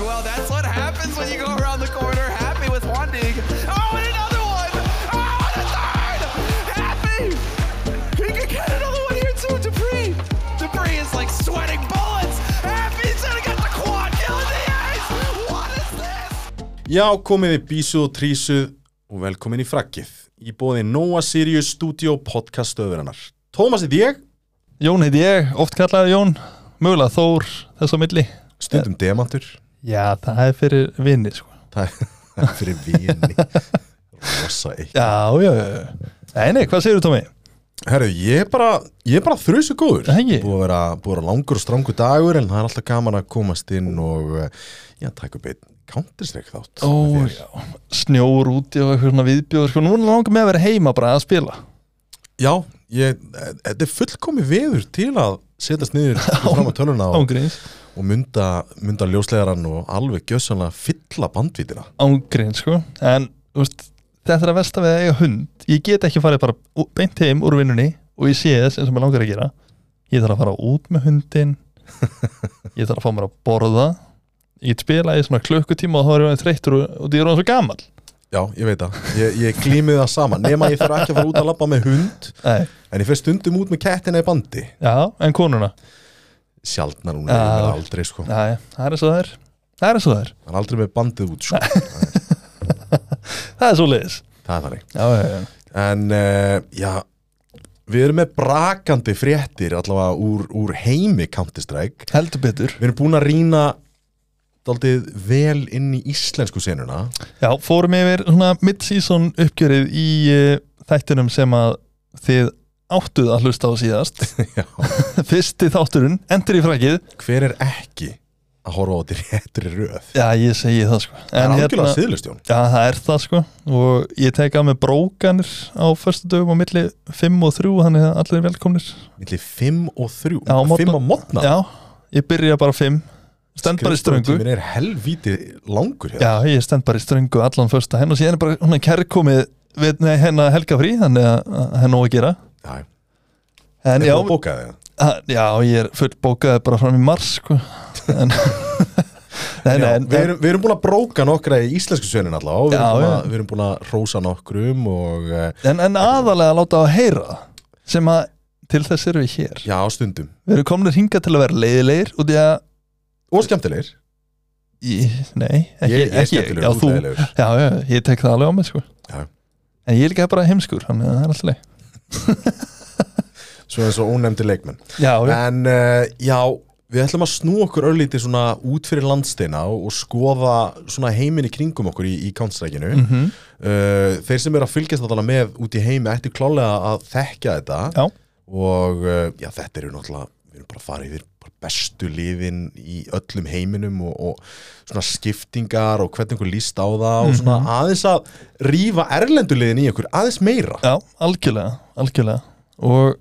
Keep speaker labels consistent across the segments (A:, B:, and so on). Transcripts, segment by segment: A: well, that's what happens when you go around the corner happy with one dig. Oh, and another one! Oh, and a third! Happy! He can get another one here too, Dupree! Dupree is like sweating bullets! Happy's gonna get the quad kill in the ice! What is this?
B: Já, komið við bísuð og trísuð og velkomin í frakkið í bóði Nóa Sirius Studio podcast stöðurinnar. Tómas er ég,
C: Jón heiti ég, oft kallaði Jón Mögulega Þór, þess á milli
B: stundum demantur,
C: Já, það er fyrir vini sko.
B: það það er fyrir vini, rosa eitt.
C: Já, já, já já. Nei, nei, hvað segirðu Tómi?
B: Herru, ég er bara, ég er bara þrjusu góður.
C: Það ekki?
B: Búið að vera, búið að vera langur og strangur dagur en það er alltaf gaman að komast inn og eh, já, taka upp einn counterstrike þátt. með þér.
C: já Snjór úti og eitthvað svona viðbjóður sko. Núna langar mig að vera heima bara að spila
B: Já, ég, eh, þetta er fullkomi veður til að setjast niður fyrir fram að töluna og,
C: Ángríns
B: og mynda, mynda ljóslegaran og alveg gjössanlega fylla bandvítina.
C: Ángríns, sko En, þú veist, þetta er að versta við að eiga hund Ég get ekki farið bara ú- beint heim úr vinnunni Og ég sé þess eins og mér langar að gera Ég þarf að fara út með hundin Ég þarf að fá mér að borða Ég get spila í svona klukkutíma og þá er ég orðinn þreyttur og og því ég er orðinn svo gamall
B: Já, ég veit það. Ég, ég glími það saman. Nema ég fer ekki að fara út að labba með hund,
C: Nei,
B: en ég fer stundum út með kettina í bandi.
C: já, en konuna
B: Sjaldnar hún
C: Já.
B: er aldrei, sko.
C: Já, já, það er eins og það er Það er eins og það er,
B: Hann er aldrei með bandið út, sko.
C: það er svo leiðis
B: Það er þannig.
C: Já, já, já
B: En uh, já, við erum með brakandi fréttir allavega úr, úr heimi Counter-Strike.
C: Heldur betur
B: Við erum búin að rýna daldið vel inn í íslensku senuna.
C: Já, fórum yfir svona mid-season uppgjörið í uh, þættinum sem að þið áttuð að hlusta á síðast
B: Já.
C: Fyrsti þátturinn, endur í frakið
B: Hver er ekki að horfa á þetta í réttri röð?
C: Já, ég segi það sko
B: Það er
C: En
B: algjörlega hérna... siðlustjón.
C: Já, það er það sko og ég tek að með brókanir á förstu dögum á milli 5 og 3 þannig að allir er velkomnir
B: Millir 5 og 3.
C: Já, á morgna-
B: 5 á modna.
C: Já, ég byrja bara 5 stend bara í ströngu
B: Skrifstofutíminn er helvíti langur hérna.
C: Já, ég stend bara í ströngu allan fyrsta henn og síðan er bara hún er kærkomið við nei, henn að helga frí þannig að að henn á að gera
B: Já.
C: en
B: Er
C: já,
B: það bókaði það?
C: að- já, ég er full bókaði bara fram í mars sko. en, nei,
B: Já,
C: nei, en,
B: við, erum, við erum búin að bróka nokkra í íslensku sveinin allavega og við, erum búin
C: Já, já.
B: að, við erum búin að rósa nokkrum og eh,
C: en, en aðalega láta á að heyra það, sem að til þess erum við hér
B: já, stundum
C: við erum komin hingað til að vera leiðilegir og því að,
B: og skemmtilegir
C: ég, nei, ekki
B: ég, ég er
C: ekki,
B: skemmtilegur,
C: já,
B: þú
C: þú,
B: leiðilegur.
C: já, já, ég tek það alveg á mig sko.
B: Já.
C: en ég er líka bara heimskur þannig að það er alltaf leið
B: Svo eins og ónefndi leikmenn
C: já, já,
B: En uh, já, við ætlum að snú okkur örlítið svona út fyrir landsteina og, og skoða svona heiminn í kringum okkur í, í countstrækinu
C: mm
B: uh, Þeir sem eru að fylgjast náttúrulega með út í heimi ættu klálega að þekkja þetta
C: já.
B: og uh, já, þetta eru náttúrulega við erum bara að fara yfir bara bestu liðin í öllum heiminum og, og svona skiptingar og hvernig einhver líst á það og svona aðeins að rífa erlenduliðin í okkur aðeins meira
C: Já, algjörlega, algjörlega og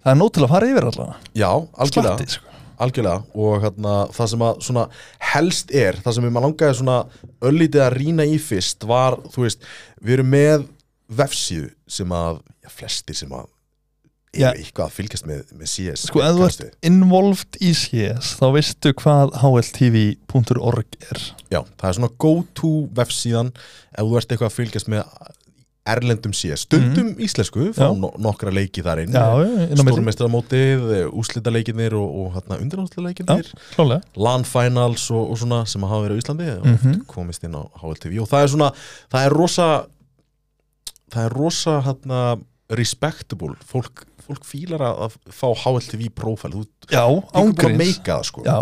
C: það er nóg til að fara yfir allavega
B: já, algjörlega,
C: Slatti, sko.
B: algjörlega. og hérna, það sem að svona helst er, það sem við maður langaði svona öllítið að rýna í fyrst var, þú veist, við erum með vefsíðu sem að já, flestir sem að eru
C: Já.
B: eitthvað að fylgjast með, með CS
C: Sko, ef þú
B: kannast
C: ert
B: við.
C: involved í CS þá veistu hvað hltv.org er
B: Já, það er svona go-to vefsíðan ef þú ert eitthvað að fylgjast með erlendum CS, stundum íslensku fá
C: Mhm. Já.
B: no nokkra leiki þar inn
C: Já, já, inn á milli.
B: stórmestramótið, úslita leikinir og, og hérna, undirnámslega
C: Já,
B: leikinir
C: klálega
B: LAN finals og, og svona sem hafa verið á Íslandi
C: Mhm.
B: og
C: Mm.
B: komist inn á HLTV og það er svona, það er rosa það er rosa hérna, respectable, fólk fólk fílar að að fá HLTV profile, þú
C: Já,
B: þú ert bara að
C: ángríns
B: meika það sko
C: Já,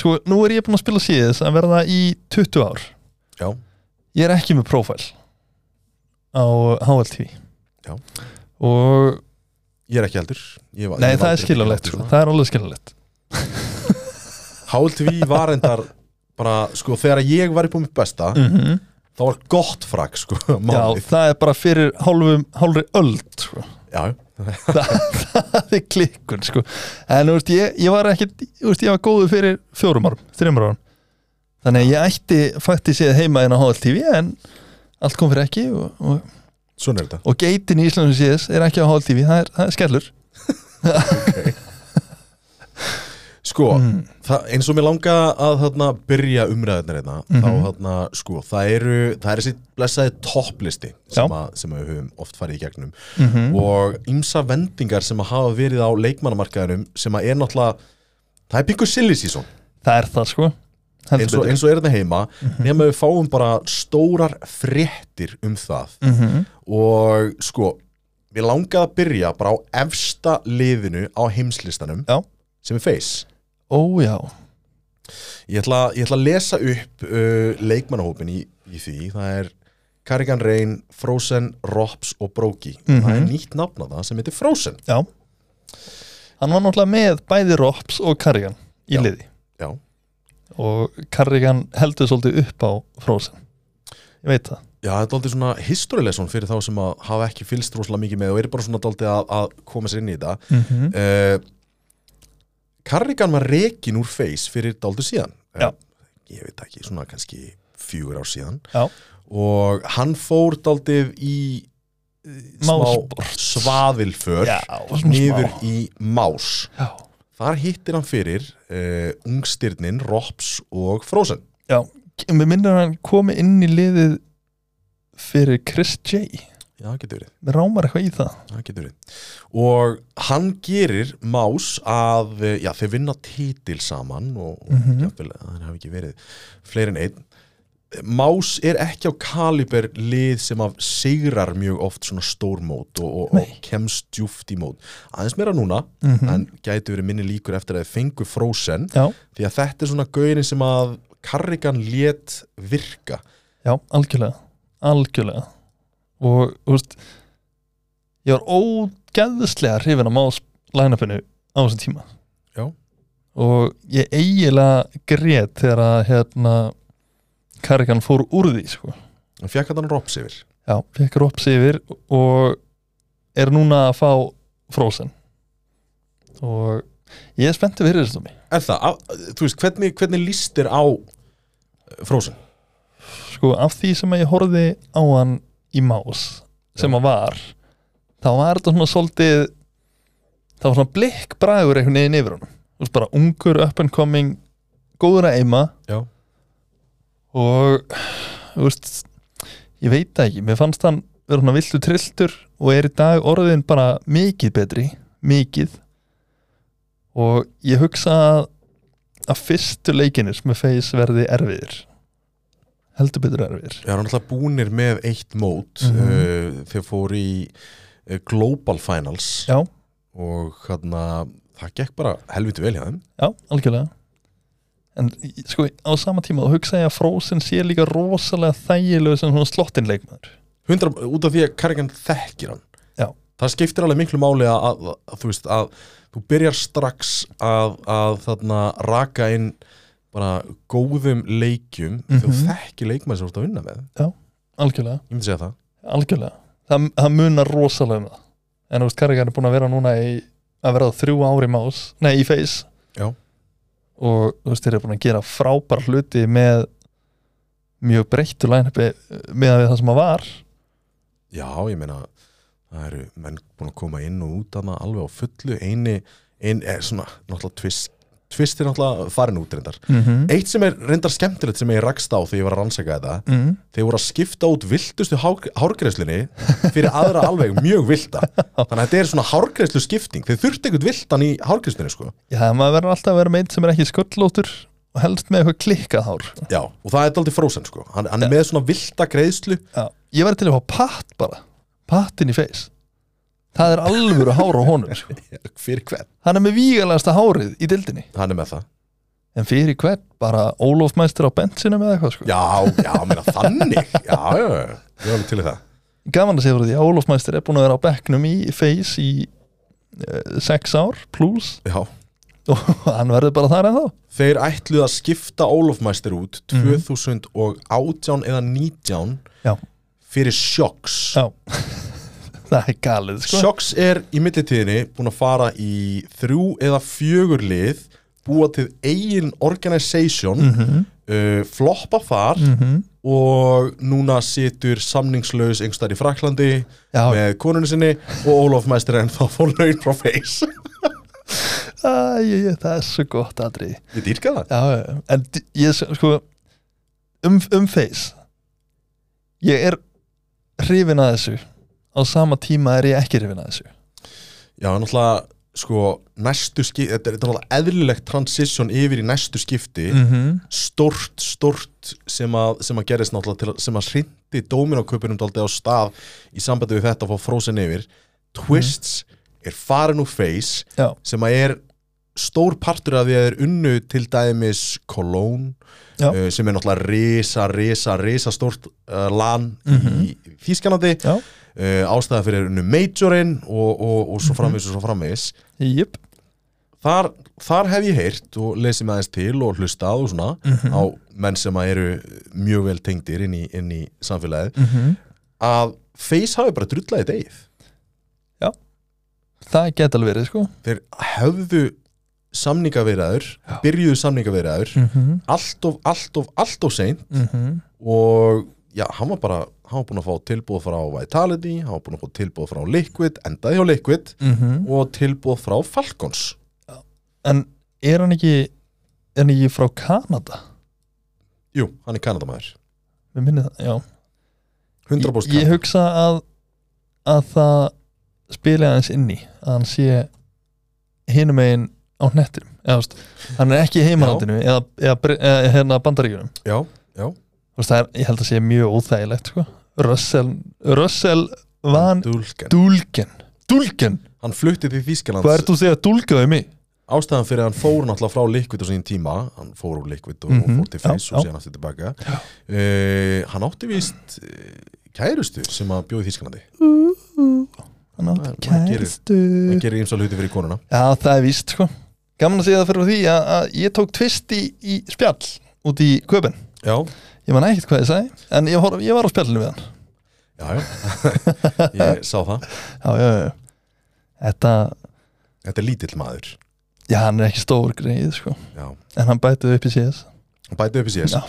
C: sko, nú er ég búinn að spila CS að verða í 20 ár
B: Já.
C: Ég er ekki með profile á HLTV
B: Já.
C: Og,
B: ég er ekki heldur ég, var-
C: nei,
B: ég var
C: það er
B: aldrei-
C: skiljanlegt
B: svona.
C: sko. Það er alveg skiljanlegt
B: sko. HLTV var endar bara, sko, þegar ég var upp á mitt besta
C: -hmm.
B: þá var gott frak, sko,
C: Já,
B: Mhm. málið
C: það er bara fyrir hálfum, hálfri öld sko.
B: Já,
C: það er klikkun sko. en þú veist, ég, ég var ekki þú veist, ég var góðu fyrir fjórum árum, þreymur árum þannig að ég ætti faktið séð heima en á HLTV en allt kom fyrir ekki og, og,
B: svona er þetta
C: og geitin í Íslandu séðs er ekki á HLTV, það er, það er skellur
B: Sko, það, eins og mér langa að þarna, byrja umræðunar einna
C: Mhm.
B: þá þarna, sko, það eru það er þessi blessaði topplisti sem,
C: Já. Mhm.
B: að, sem að við höfum oft farið í gegnum og ymsa vendingar sem að hafa verið á leikmannamarkaðinum sem að er náttúrulega það er pingu silly season
C: það er það sko
B: eins
C: Heldur
B: og,
C: betur. Mhm.
B: eins og er þetta heima nema við fáum bara stórar fréttir um það
C: Mhm.
B: og sko við langaði að byrja bara á efsta liðinu á heimslistanum
C: Já.
B: sem er Face
C: Ó já,
B: Ég ætla, ég ætla að lesa upp uh, leikmannahópin í, í því Það er Carrigan Rain, Frozen, Rops og Broki Það er nýtt nafn á það sem heitir Frozen
C: já Hann var náttúrulega með bæði Rops og Carrigan í
B: Já.
C: liði
B: Já,
C: og Carrigan heldur svolítið upp á Frozen Ég veit það
B: Já þetta er aldrei svona historyleson fyrir þá sem að hafa ekki fylst rosalega mikið með og er bara svona aldrei að, að koma sér inn í þetta
C: -hmm.
B: uh, Carrigan var rekin úr face fyrir dálítið síðan
C: Já.
B: Eh, Ég veit það ekki, svona kannski fjögur ár síðan
C: Já.
B: Og hann fór dálítið í eh, smá
C: Málsport.
B: svaðilför
C: Já, svona
B: niður
C: smá.
B: í Más
C: Já,
B: Þar hittir hann fyrir uh, ungstirnin, Rops og Frozen
C: já, mér minnir að hann komi inn í liðið fyrir Chris J
B: Já, það getur verið,
C: Mér rámar eitthvað í það
B: það getur verið Og hann gerir Más að, eh, já, þeir vinna titil saman og, og mm
C: Mhm.
B: hann hafi ekki verið fleiri en einn Más er ekki á kaliber lið sem af sigrar mjög oft svona stór mót og, og, og
C: Nei.
B: kemst djúft í mót aðeins meira núna,
C: Mhm.
B: en gæti verið minni líkur eftir að þeir fengu Frozen
C: Já,
B: því að þetta er svona gaurin sem að Carrigan lét virka
C: já, algjörlega Algjörlega Og, þú veist Ég var ógeðslega hrifin að más lænafinu á þessum tíma
B: Já.
C: Og ég eiginlega grét þegar að hérna Karikan fór úr því sko.
B: hann fekk hann rops yfir
C: Já, fekk rops yfir og er núna að fá Frozen og ég er spenntið fyrir þessu tómi
B: en það, að, þú veist, hvernig, hvernig lístir á eh, Frozen
C: sko af því sem að ég horfði á hann í Más sem
B: Já.
C: að var þá var þetta svona svolítið það var svona blikkbragur einhvern veginn yfir honum Þú veist bara ungur, up and coming góður að eima
B: já,
C: og þú veist, ég veit það ekki mér fannst hann vera svona viltu trilltur og er í dag orðin bara mikið betri mikið og ég hugsa að að fyrstu leikinir með feis verði erfiðir heldur betur erfiðir
B: það er náttúrulega búnir með eitt mót mm
C: Mhm.
B: þeir fóru í eh, Global Finals
C: já,
B: og hann það gekk bara helviti vel hjá þeim
C: já, algjörlega en í- sko á sama tíma þá hugsa ég að Frozen sé líka rosalega þægilegu sem svona slottin leikmaður
B: 100, út af því að Carrigan þekkir hann
C: Já.
B: það skiptir alveg miklu máli að, að, að þú veist að þú byrjar strax að, að þarna raka inn bara góðum leikjum mm þú
C: Mhm.
B: þekkir leikmann sem þú ert að vinna með ég
C: algjörlega
B: myndi segja það
C: algjörlega, það, það munar rosalega um það en þú veist, Carrigan er búin að vera núna í, að vera þrjú ári más nei, í feis
B: Já.
C: og þú veist, þeir eru búin að gera frábær hluti með mjög breyttu line-upi með það sem að var
B: já, ég meina það eru menn búin að koma inn og út að maður alveg á fullu eini, ein, er svona náttúrulega tvist tvist er náttúrulega farin út reyndar
C: mm -hmm.
B: eitt sem er reyndar skemmtilegt sem ég rakst á þegar ég var að rannsaka þetta
C: mm.
B: þeir voru að skipta út viltustu hár, hárgreðslunni fyrir aðra alveg mjög vilda þannig að þetta er svona hárgreðslu skipting þeir þurfti einhvern vildan í hárgreðslunni sko.
C: já, maður verður alltaf að vera meitt sem er ekki sköllótur og helst með eitthvað klikkað hár
B: Já, og það er aldrei frozen sko. hann, hann er með svona vilda greiðslu
C: já. ég verður til að fá patt bara pattin í feis það er alvöru hár á honum sko.
B: fyrir hvern,
C: hann er með vígalegasta hárið í dildinni
B: hann er með það
C: En fyrir hvern, bara Ólof mæstur á bensinu með eitthvað sko
B: Já, já, meina þannig Já, já, já, ég er alveg til í það
C: Gaman að segja fyrir því að Ólof mæstur er búin að vera á bekknum í Face í 6 ár plus
B: Já,
C: og hann verður bara þar ennþá
B: þeir ætluð að skipta Ólofmæstir út 2018 eða 19
C: Já,
B: fyrir sjokks
C: já Það er galið sko
B: Shocks er í millitíðinni búin að fara í þrjú eða fjögur lið búa til eigin organization uh, floppa þar
C: Mm. Mhm.
B: og núna situr samningslaus einhverstaðar í Fraklandi
C: Já.
B: með konunni sinni og Ólaf Mæstir er ennþá fór laun frá Face
C: Æ, ég, ég, það er svo gott aðrið
B: Ég dýrka það
C: Já, já, já. en d- ég s- sko um, um face ég er hrifin að þessu á sama tíma er ég ekki hrifin að þessu
B: Já, en náttúrulega, sko, næstu skipti Þetta er þetta er náttúrulega eðlilegt transition yfir í næstu skipti
C: -hmm.
B: Mhm. Stort, stort sem að, sem að gerist náttúrulega til, að- sem að hrindi dóminóköpunum daldið á stað í sambandi við þetta að fá frozen yfir Twists er farin úr face
C: Já.
B: sem að er stór partur af því að þeir unnu til dæmis Cologne
C: Já.
B: uh, sem er náttúrulega risa, risa, risa stórt uh, lan í Þískanandi
C: Mhm. Já.
B: uh, ástæða fyrir unnu Majorinn og, og, og svo framvegis og svo framvegis
C: Jöp,
B: þar, þar hef ég heyrt og lesið með aðeins til og hlustað og svona á menn sem að eru mjög vel tengdir inn í, inn í samfélagið að Face hafi bara drullaði degið
C: það geta alveg verið sko
B: þeir höfðu samningaveiraður,
C: Já.
B: byrjuðu samningaveiraður
C: mm -hmm.
B: allt of, allt of, allt of sein
C: Mm -hmm.
B: og já, hann var bara hann var búinn að fá tilbúð frá Vitality hann var búinn að fá tilbúð frá Liquid, endaði hjá Liquid og tilbúð frá Falcons
C: en er hann ekki er hann ekki frá Kanada
B: Jú, hann er Kanadamæður
C: við minnið það, já
B: 100%
C: ég, ég
B: Kanadamaður.
C: hugsa að að það spila aðeins inn í að hann sé hinum megin á hnettinum eða, þú veist, hann er ekki í heimalandinu eða, eða, Bri- eða hérna bandaríkjunum
B: Já,
C: Þú veist, það er, ég held að sé mjög óþægilegt sko. Russell, Russell van
B: Dulgen
C: Dulgen Dulgen,
B: Hann flutti til Þýskalands
C: hvað ert þú að segja Dulgaðu mig?
B: Ástæðan fyrir að hann fór náttúrulega frá Liquid á sín tíma Hann fór úr Liquid og,
C: Mhm,
B: og fór til Face
C: já,
B: og
C: já.
B: síðan aftur tilbaka uh, Hann átti víst uh, kærustu sem að bjóði Þýskalandi
C: Eh. Hann
B: Maður-
C: átti
B: maður gerir-
C: kæristu
B: Hann gerir ímsa hluti fyrir konuna
C: Já, það er víst sko Gaman að segja það fyrir því að, að ég tók tvist í, í spjall út í köpinn
B: Já,
C: Ég man ekkert hvað ég sagði En ég, horf, ég var á spjallinu við hann
B: já, já Ég sá það
C: já, já, já. Þetta,
B: Þetta er lítill maður
C: já, hann er ekki stór greið, sko.
B: Já
C: En hann bætið upp í CS.
B: bæti upp í CS
C: Já.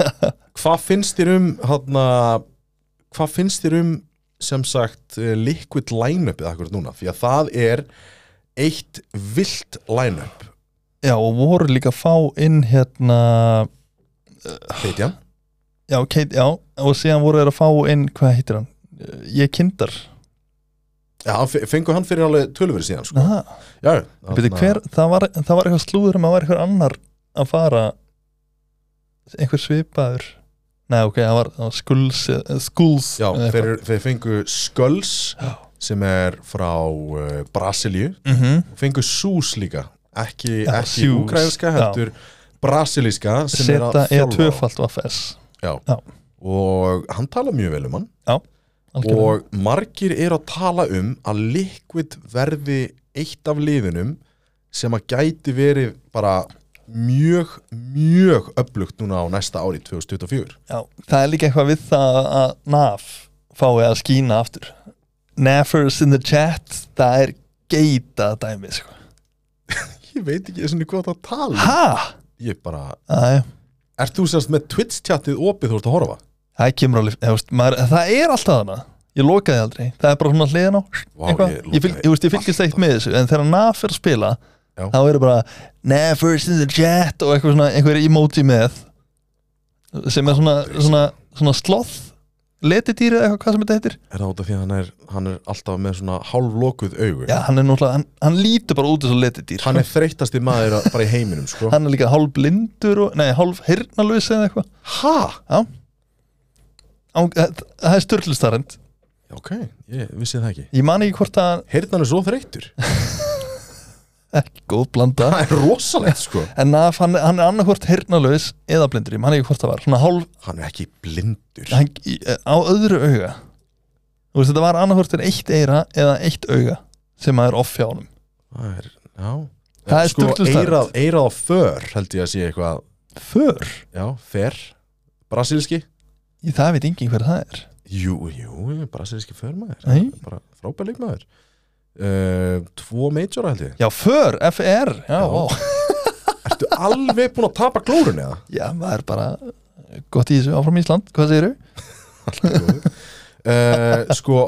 B: hvað finnst þér um hana, hvað finnst þér um sem sagt eh, liquid line-upið akkur núna, því að það er eitt vilt line-up
C: Já, og voru líka að fá inn hérna,
B: Feitja,
C: já, Kate, já, og síðan voru þeir að fá inn, hvað heitir hann? Eh, Ég kindar.
B: já, hann fe- fengu hann fyrir alveg tölvöru síðan sko.
C: Aha,
B: já,
C: beti, hver, það, var, það var eitthvað slúður um að var eitthvað annar að fara, einhver svipaður. Nei, ok, það var, það var skulls, eh, skulls.
B: já, þeir, þeir fengu Skulls sem er frá uh, Brasilíu,
C: Mm -hmm.
B: fengu Sús líka ekki,
C: Já,
B: ekki
C: Zeus,
B: ukrainska
C: já. E
B: heldur brasilíska sem er að
C: Seta er
B: þjálfa þá.
C: tvöfald vaffes.
B: og hann tala mjög vel um hann
C: Og...
B: og margir eru að tala um að Liquid verði eitt af liðunum sem að gæti verið bara mjög, mjög öflugt núna á næsta ári 2024
C: Já, það er líka eitthvað við það að NAF fái að skína aftur Nafers in the chat það er geita dæmi sko.
B: Ég veit ekki eins og hvað það tala um.
C: Ha?
B: Ég bara,
C: Æ,
B: ert þú semst með Twitch chatið opið þú ert að horfa?
C: það kemur alveg eða, þú veist, maður, það er alltaf þarna ég lokaði aldrei, það er bara svona hliðan á
B: Vá, ég
C: eitthvað. ég,
B: lokaði
C: fylg, ég, veist, ég fylgist
B: alltaf.
C: eitt með þessu en þegar NAF er að spila
B: Já.
C: þá eru bara Nafers in the chat og eitthvað svona, einhver emoji með sem er svona, svona, svona sloth letidýri eða eitthvað hvað sem þetta heitir
B: Er það út af því að hann er, hann er alltaf með svona hálflokuð augu?
C: Já, hann er náttúrulega, hann, hann lítur bara út eins og letidýr
B: Hann er þreytasti maður að- bara í heiminum, sko
C: hann er líka hálf blindur og, nei, hálf hirnalus eða eitthvað
B: Hæ?
C: Án- það- það er störlustarind
B: Ok, ég vissi það ekki
C: ég man ekki hvort að
B: Heyrðan er svo þreytur
C: ekki góð blanda
B: Það er rosalegt, sko
C: en að hann, hann er annarkvort hirnalus eða blindur, ég man ekki hvort það var svona hálf,
B: Hann er ekki blindur
C: hann, í- eh, á öðru auga þú veist þetta var annarkvort er eitt eira eða eitt auga sem að er off hjá honum
B: Það er, já
C: Það er
B: sko,
C: sturluð staðreynd.
B: eirað, eirað á för held ég að sé eitthvað
C: för,
B: Já, fer Brasilíski
C: Í það veit engin hver það er
B: Jú, jú, brasilíski för maður
C: Nei.
B: Bara frábær leikmaður uh, Tvo majora held ég
C: já, för, FR, já,
B: Já.
C: já. Ó,
B: Ertu alveg búinn að tapa glórun eða?
C: já, maður er bara gott í þessu áfram Ísland, hvað segirðu?
B: uh, Sko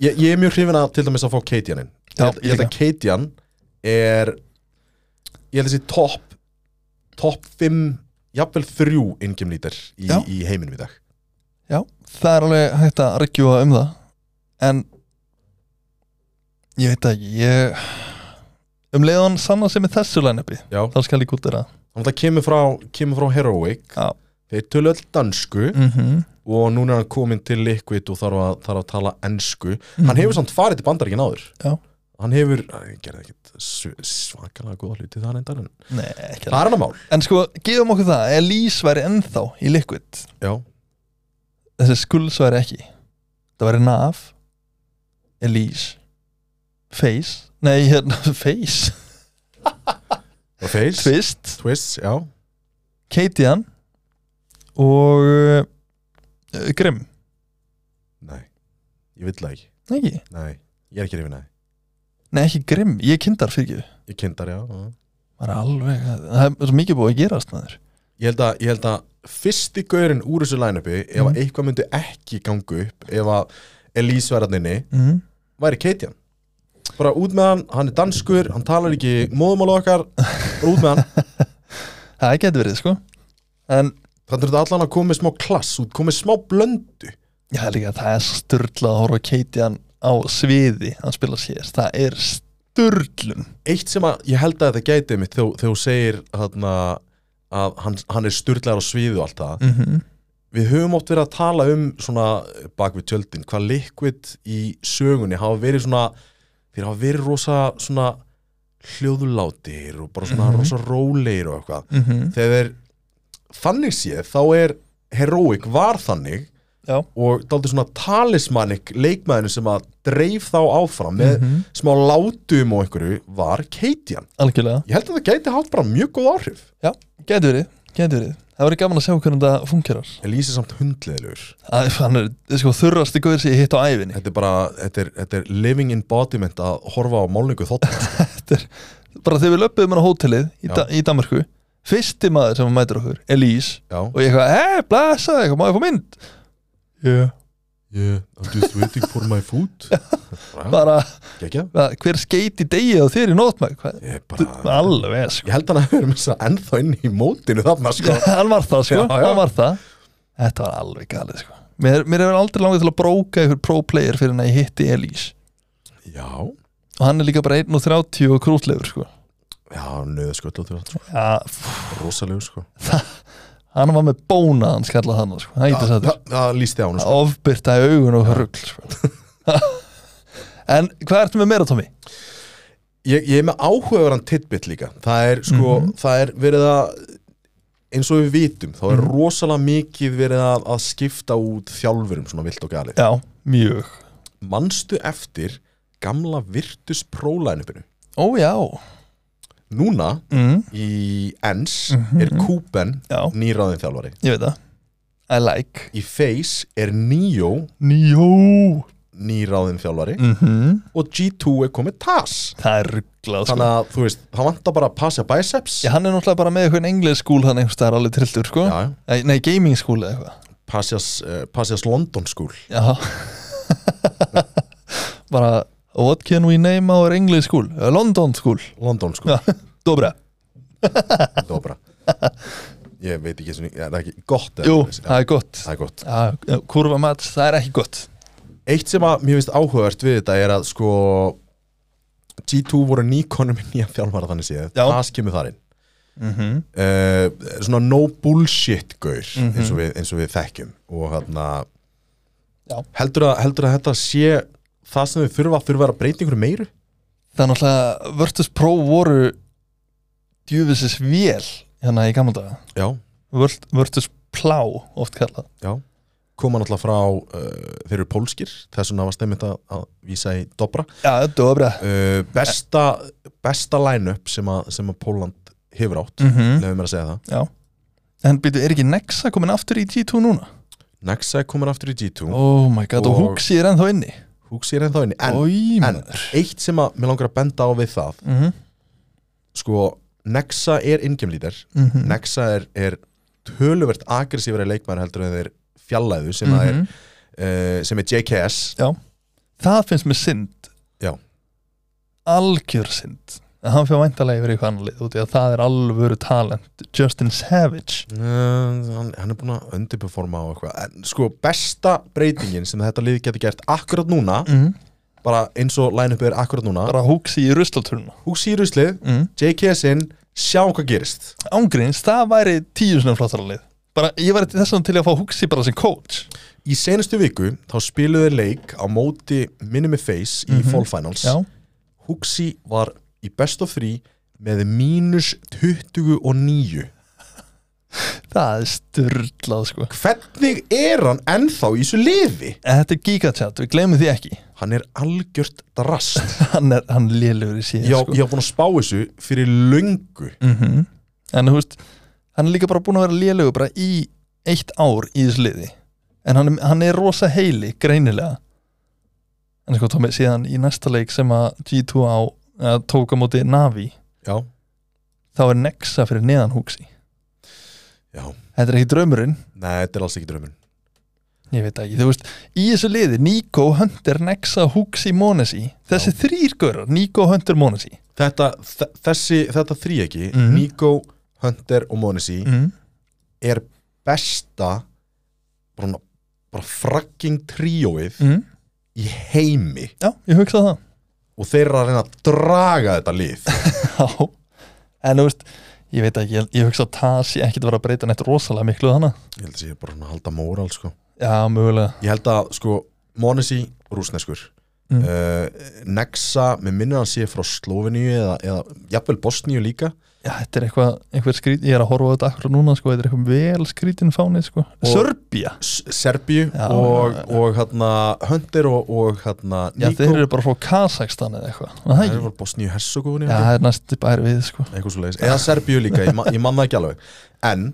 B: ég, ég er mjög hrifin að til dæmis að fá Keitjanin
C: Já,
B: Ég held að Keitjan er ég held þessi topp topp 5, jafnvel 3 ingemlítar í,
C: Já.
B: í heiminum í dag
C: Já, það er alveg hægt að regjúa um það En Ég veit að ég Um leiðan sanna sem er þessu lænupi
B: Já,
C: Þá skal ég gútið það
B: þannig að það kemur frá, kemur frá Heroic
C: Já.
B: þeir tölu öll dansku
C: mm -hmm.
B: og núna er hann komin til Liquid og þarf að, þarf að tala ensku hann hefur samt farið til bandaríkinn áður
C: Mhm. Já.
B: hann hefur, hann gerði ekkit sv- svakalega góða hluti það reyndar en
C: Nei, ekki
B: það er hann að mál
C: það En sko, gefum okkur það Elise væri ennþá í Liquid
B: Já,
C: Þessi skuls væri ekki Það væri Nav Elise Face Nei, hérna, Face
B: og Face
C: Twist
B: Twist, já
C: Katian Og uh, Grimm
B: Nei, ég vill það ekki
C: Nei, ekki
B: Nei, ég er ekki reyfin að
C: Nei, ekki grimm, ég er kindar fyrir ekki
B: Ég kindar, já já.
C: Maður er alveg, það er svo mikið búið að gerast maður
B: Ég held að, ég held að fyrsti gaurinn úr þessu line-upi ef
C: Mm.
B: að eitthvað myndi ekki gangu upp ef að Elise var hann inni
C: mm.
B: væri Keitjan bara út með hann, hann er danskur, hann talar ekki móðumál okkar, bara út með hann
C: Það getur verið, sko En,
B: þannig er þetta allan að koma með smá klass út, koma með smá blöndu
C: já, líka, það er styrla að horfa á Keitian á sviði hann spila sér, það er styrlun
B: eitt sem að ég held að þetta gæti mitt þegar þegar þú segir þarna, að hann, hann er styrlaðar á sviðu og allt það
C: mm -hmm.
B: við höfum oft verið að tala um svona bak við tjöldin, hvað Liquid í sögunni hafa verið svona þeir hafa verið rosa svona hljóðlátir og bara svona
C: Mhm.
B: rosa rólegir og eitthvað þegar þeir, þannig séð þá er Heroic var þannig
C: Já,
B: og dálítið svona talismanik leikmaðinu sem að dreif þá áfram með
C: Mhm.
B: smá látum og einhverju var Keitian
C: algjörlega
B: ég held að það gæti haft bara mjög góð áhrif
C: Já, getur verið, getur verið Það verið gaman að sjá hvernig það fungerar
B: en lýsir samt hundleðilegur
C: Það hann er, sko, þurrasti guður sem ég hitt á æfinni
B: þetta er bara, þetta er, þetta er living embodiment að horfa á málningu þótt
C: Þetta er, bara þegar við löpum hann á hótelið í,
B: Já.
C: da, í Danmarku Fyrsti maður sem mætir okkur, Elise
B: já,
C: og ég eitthvað, hei, blessa, eitthvað, má ég fá mynd? Yeah.
B: yeah, I'm just waiting for my food bara,
C: Bara,
B: ekki
C: hvað, hver skeiti degið á þér í nótmæk? Hvað?
B: ég, bara,
C: Alveg, sko.
B: ég held hann að vera með þess að ennþá inn í mótinu þarna sko
C: Hann var það, sko,
B: Já, já.
C: hann var það. Þetta var alveg galið, sko. Mér, mér hefur aldrei langið til að bróka ykkur pro-player fyrir en að ég hitti Elís.
B: já,
C: Og hann er líka bara 1.30 og krútlegur, sko.
B: já, nöðu sköllu til þetta sko.
C: Já, pff,
B: rosalegu sko
C: hann var með bóna, hann skallað hann, sko. Hann eitthvað þetta.
B: það það lýsti á hann sko.
C: Ofbyrta í augun og rugl, sko. en hvað ertu með meira, Tommy?
B: ég, ég er með áhugaveran tidbit líka það er sko, það er verið að eins og við vitum, þá er rosalega mikið verið að, að skipta út þjálfurum svona vilt og galið
C: Já, mjög.
B: manstu eftir gamla Virtus Pro-lænupinu
C: Ó, já.
B: núna
C: Mm. Mhm.
B: í Ens er Kúben
C: Já.
B: nýráðin þjálfari
C: Ég veit það I like
B: í Face er Nio
C: Njó
B: nýráðin þjálfari
C: mm
B: og G2 er komið TAS
C: Það er rugglað sko
B: þannig að þú veist, það vantar bara að passa biceps
C: Já, hann er náttúrulega bara með eitthvað english school hann einhvers staðar alveg trilltur sko
B: Já, já.
C: Nei, nei, gaming school eða eitthvað
B: passas, uh, passas London School
C: Já Bara What can we name our English school? Uh, London school
B: London School,
C: Já, dobra
B: það var bara ég veit ekki, svona, er það ekki gott eða
C: Jú,
B: svoleiðis? já,
C: það er gott
B: það er gott
C: Já, já, kurva mat, það er ekki gott
B: Eitt sem að mér finnst áhugavert við þetta er að sko G2 voru nýkonum í nýja þjálfara þannig séð,
C: Já. Mhm.
B: það skemur þar inn uh, svona no bullshit gaur eins, og
C: Mhm.
B: við, eins og við þekkjum og hérna
C: Já.
B: heldur að, heldur að þetta sé það sem við þurfa, þurfa að breyta einhverju meiru
C: Það er náttúrulega Virtus Pro voru djúfisins vél hérna í gamla daga
B: já,
C: Virt- Virtus Plá oft kallað
B: já koma náttúrulega frá, uh, þeir eru pólskir þess vegna var stemmið að, að vísa í dobra
C: Já, dobra
B: uh, besta, besta line-up sem, að- sem að Póland hefur átt
C: mm -hmm.
B: lefum mér að segja það
C: Já En byrju, er ekki Nexa komin aftur í G2 núna?
B: Nexa er komin aftur í G2oh.
C: Oh my god, og,
B: Og-
C: Huxi er ennþá inni
B: Húks er ennþá inni en,
C: Í
B: en eitt sem að mér langar að benda á við það
C: Mhm,
B: sko, Nexa er ingemlítar
C: mhm.
B: Nexa er, er töluvert agressífari leikmæður heldur en þeir fjallæðu sem, mm
C: Mhm.
B: er, uh, sem er JKS
C: Það finnst mér synd
B: Já.
C: Algjör synd en hann fyrir væntalega yfir eitthvað annar lið út í að það er alvöru talent Justin Savage
B: Uh, hann, hann er búin að undirperforma á eitthvað en sko besta breytingin sem þetta lið getur gert akkurat núna
C: mm.
B: bara eins og line-upið er akkurat núna
C: bara húksi í ruslaturna
B: húsi í ruslið,
C: mm.
B: JKS inn sjá hvað gerist
C: ángríns, það væri tíu sinna flottara lið bara, ég væri þess vegna til í að fá húksi bara sem coach
B: í senustu viku þá spiluðu þeir leik á móti Minimi Face í Fall Finals
C: já,
B: Huxi var í best of 3 með mínus 29
C: það er styrlað sko
B: hvernig er hann ennþá í þessu liði?
C: En Þetta er gigachat, við glemum því ekki
B: hann er algjört drast
C: Hann er, hann lélugur í síðan
B: ég á-
C: sko.
B: ég haf búin að spá þessu fyrir löngu
C: -hmm. En þú veist, hann er líka bara búin að vera lélugur bara í eitt ár í þessu liði En hann, er- hann er rosa heili, greinilega En sko, tómi, síðan í næsta leik sem að G2 á að tóka móti Navi
B: já,
C: Þá er Nexa fyrir neðan húksi
B: já
C: Þetta er ekki draumurinn,
B: Nei, þetta er alls ekki draumin
C: ég veit það ekki Þú veist, í þessu liði, Nico, Hunter, Nexa, húksi, Monesi Þessi þrýr gaurar, Nico, Hunter, Monesi
B: Þetta, þ- þessi, þetta þríegi
C: Mhm.
B: Nico, Hunter og Monesi
C: mm.
B: er besta bara, bara fracking tríóið
C: Mm.
B: í heimi
C: Já, ég hugsa það
B: og þeir eru að reyna að draga þetta lið
C: Já, en þú veist ég veit ekki, ég, ég hugsa að það sé ekkit að vera að breyta neitt rosalega miklu þannig
B: Ég held að sé bara svona að halda móral sko.
C: Já, mögulega
B: Ég held að sko, Monesi rúsneskur
C: Mm.
B: uh, Nexa, með minnir að hann sé frá Sloveníu eða, eða jafnvel Bosníu líka
C: Já, þetta er eitthvað, eitthvað skrít, ég er að horfa á þetta akkur núna, sko, þetta er eitthvað vel skrítin fáni, sko Sörbía
B: S- Serbíu
C: Já,
B: og,
C: já, já.
B: og hérna, Hunter og, og hérna,
C: Já,
B: Nico
C: þeir eru bara frá Kazakstan eða eitthvað var það
B: Það
C: ekki?
B: var Bosníu Hersogovni
C: Já, það er næstu bæri við, sko
B: eitthvað svo leiðis, eða Serbíu líka ég, ma ég manna ekki alveg, en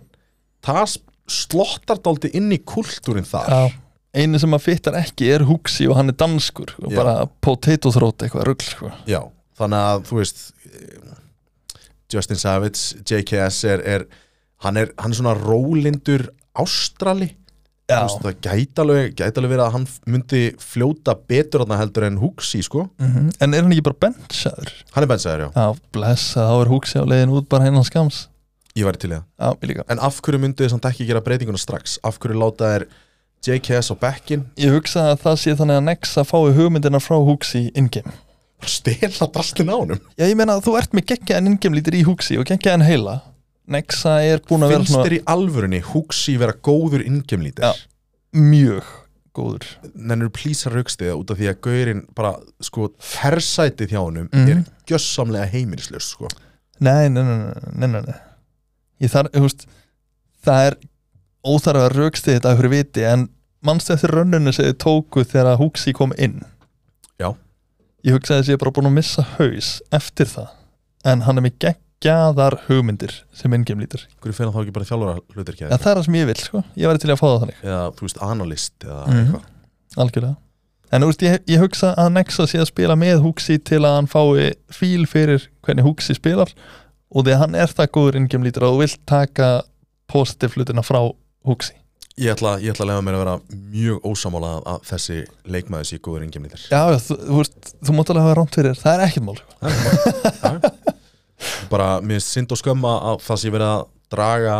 B: það s- slottar dálti inn í kultúrin þar
C: Já, einu sem að fyttar ekki er Huxi og hann er danskur og
B: Já.
C: bara potato throat eitthvað rugl, sko
B: Já, þannig að þú veist eh, Justin Savage JKS er, er, hann er hann er svona rólindur ástrali
C: Já,
B: Þú veist, það gæti alveg, gæti alveg verið að hann myndi fljóta betur þarna heldur en Huxi sko,
C: mm en er hann ekki bara benchaður?
B: hann er bensaður já,
C: Já, blessa, þá er Huxi á leiðin út bara hennan skams
B: ég væri til í það
C: Já, ég líka
B: en af hverju myndi þess að ekki gera breytinguna strax af hverju láta þær JKS á bekkin
C: Ég hugsa að það sé þannig að Nexa fái hugmyndina frá Huxi in-game
B: stela drastin á honum
C: Já, ég meina að þú ert með geggjaðan in-game lítir í Huxi og geggjaðan heila Nexa er búin að vera
B: finnst
C: svona
B: þér í alvörunni Huxi vera góður ingemlítir
C: Já. mjög góður
B: nennur plísa raukstiða út af því að gaurinn bara sko hersætið hjá honum
C: Mhm.
B: er gjössamlega heimilislaus sko.
C: Nei, nei, nei, nei, nei, nei, nei. Ég þar, þú veist það er óþarfa raukstið þetta að hverju viti en mannstu eftir rönnunni sem þið tóku þegar að Huxi kom inn
B: Já.
C: Ég hugsa að þessi er bara búin að missa haus eftir það en hann er með geggjaðar hugmyndir sem in-game lítir
B: hverju fyrir þá ekki bara þjálfara hlutur
C: Já, það er það sem ég vil, sko Ég væri til í að fá það þannig
B: eða þú veist analyst eða
C: Mhm.
B: eitthvað
C: algjörlega en þú veist, ég, ég hugsa að Nexa sé að spila með Huxi til að hann fái fíl fyrir hvernig Huxi spilar og því að hann er það góður ingjum lítur og þú vilt taka positiv hlutina frá Huxi
B: ég ætla, ég ætla að lefa mér að vera mjög ósamála að- að þessi leikmaður sé góður ingemlítir
C: já, já, þú, þú, veist, þú mátt alveg hafa rámt fyrir þér, það er ekkert mál sko.
B: bara mér finnst synd og skömm að- að það sé verið að draga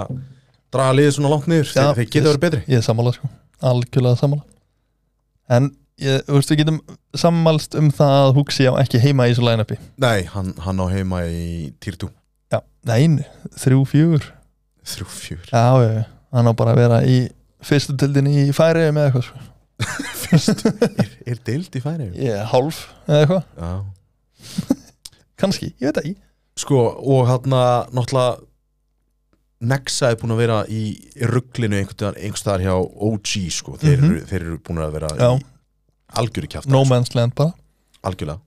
B: draga liðið svona langt niður
C: Já,
B: þeir, þeir geta verið betri
C: ég er sammála, sko, algjörlega sammála en ég, þú veist, við getum sammálst um það að Huxi á ekki heima í þessu line-upi
B: nei, hann, hann á heima í týr 2
C: já, nein, þrjú, fjúr
B: 3-4
C: já, já, já, hann á bara að vera í fyrstu tildinni í færi með eitthvað, sko,
B: er, er deild í færi?
C: ég er hálf eða eitthvað
B: já
C: kannski, ég veit það ekki
B: Sko, og hann að náttúrulega Nexa er búin að vera í rugglinu einhvers staðar hjá OG sko. þeir,
C: Mhm.
B: eru, þeir eru búin að vera
C: Já.
B: í algjöru kjafta
C: no man's land bara
B: algjörlega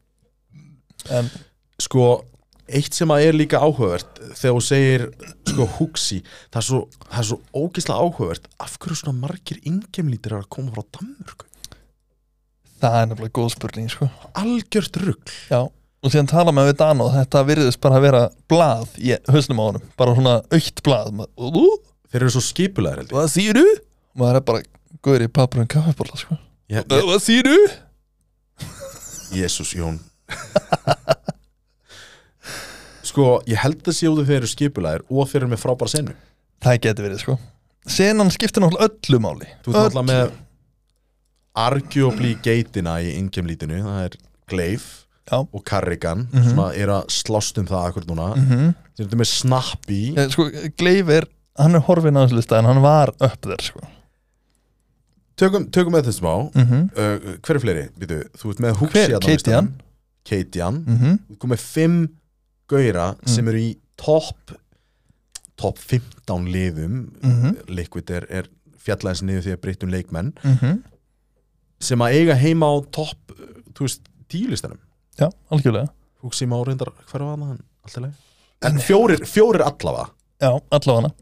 C: en,
B: sko, eitt sem að er líka áhugavert þegar þú segir sko, Huxi, það er svo, það er svo ógislega áhugavert af hverju svona margir ingemlítir er að koma frá Danmörku
C: það er nefnilega góð spurning sko.
B: algjört rugg
C: já, og síðan tala með við Dano þetta virðist bara að vera blað í hausnum á honum, bara svona aukt blað maður, ú,
B: þeir eru svo skipulegar held ég.
C: hvað þýru? maður er bara guður í papur en kaffibóla sko.
B: ég,
C: "Ö,
B: ég,
C: hvað þýru?
B: Jésús Jón sko, ég held að sé út af þeir eru skipulæðir og þeir eru með frábæra senu
C: það geti verið sko senan skiptir náttúrulega öllu máli
B: Þú ert náttúrulega með arguably geitina í ingemlítinu það er Gleif
C: Já.
B: og Carrigan sem að er að slást um það akkur núna mm
C: Mhm.
B: þeir eru með Snappy
C: Eh, sko, Gleifir, hann er horfinn á þessu lista en hann var upp þér sko
B: tökum, tökum með þessum á
C: mm
B: uh, hver er fleiri? Býtu, þú ert með Hugsi
C: Hver?
B: hérna á
C: Keitian?
B: listanum. Keitian
C: Mhm.
B: þú ert komið fimm gauðra sem eru í topp topp 15 liðum Liquid er, er fjallæðins niður því að breytum leikmenn
C: Mhm.
B: sem að eiga heima á topp uh, þú veist, tíulistanum
C: já, algjörlega
B: Hugsi má reyndar hver var hann alltaf leið en fjórir, fjórir allavega
C: já, allavega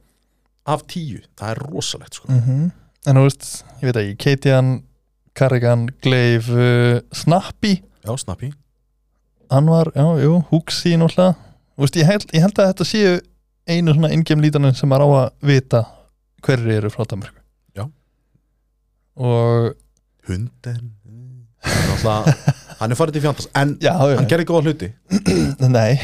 B: af tíu, það er rosalegt sko.
C: mm en þú veist, ég veit ekki Keitian, Carrigan, Gleif uh, Snappy,
B: já, snappi
C: hann var já, jú, Huxi náttúrulega Þú veist, ég, held, ég held að þetta séu einu svona ingem lítanum sem maður á að vita hverri eru frá Danmarku
B: Já.
C: og
B: hunden alltaf, hann er farið til fjandars en
C: já, já,
B: hann gerði góða hluti
C: nei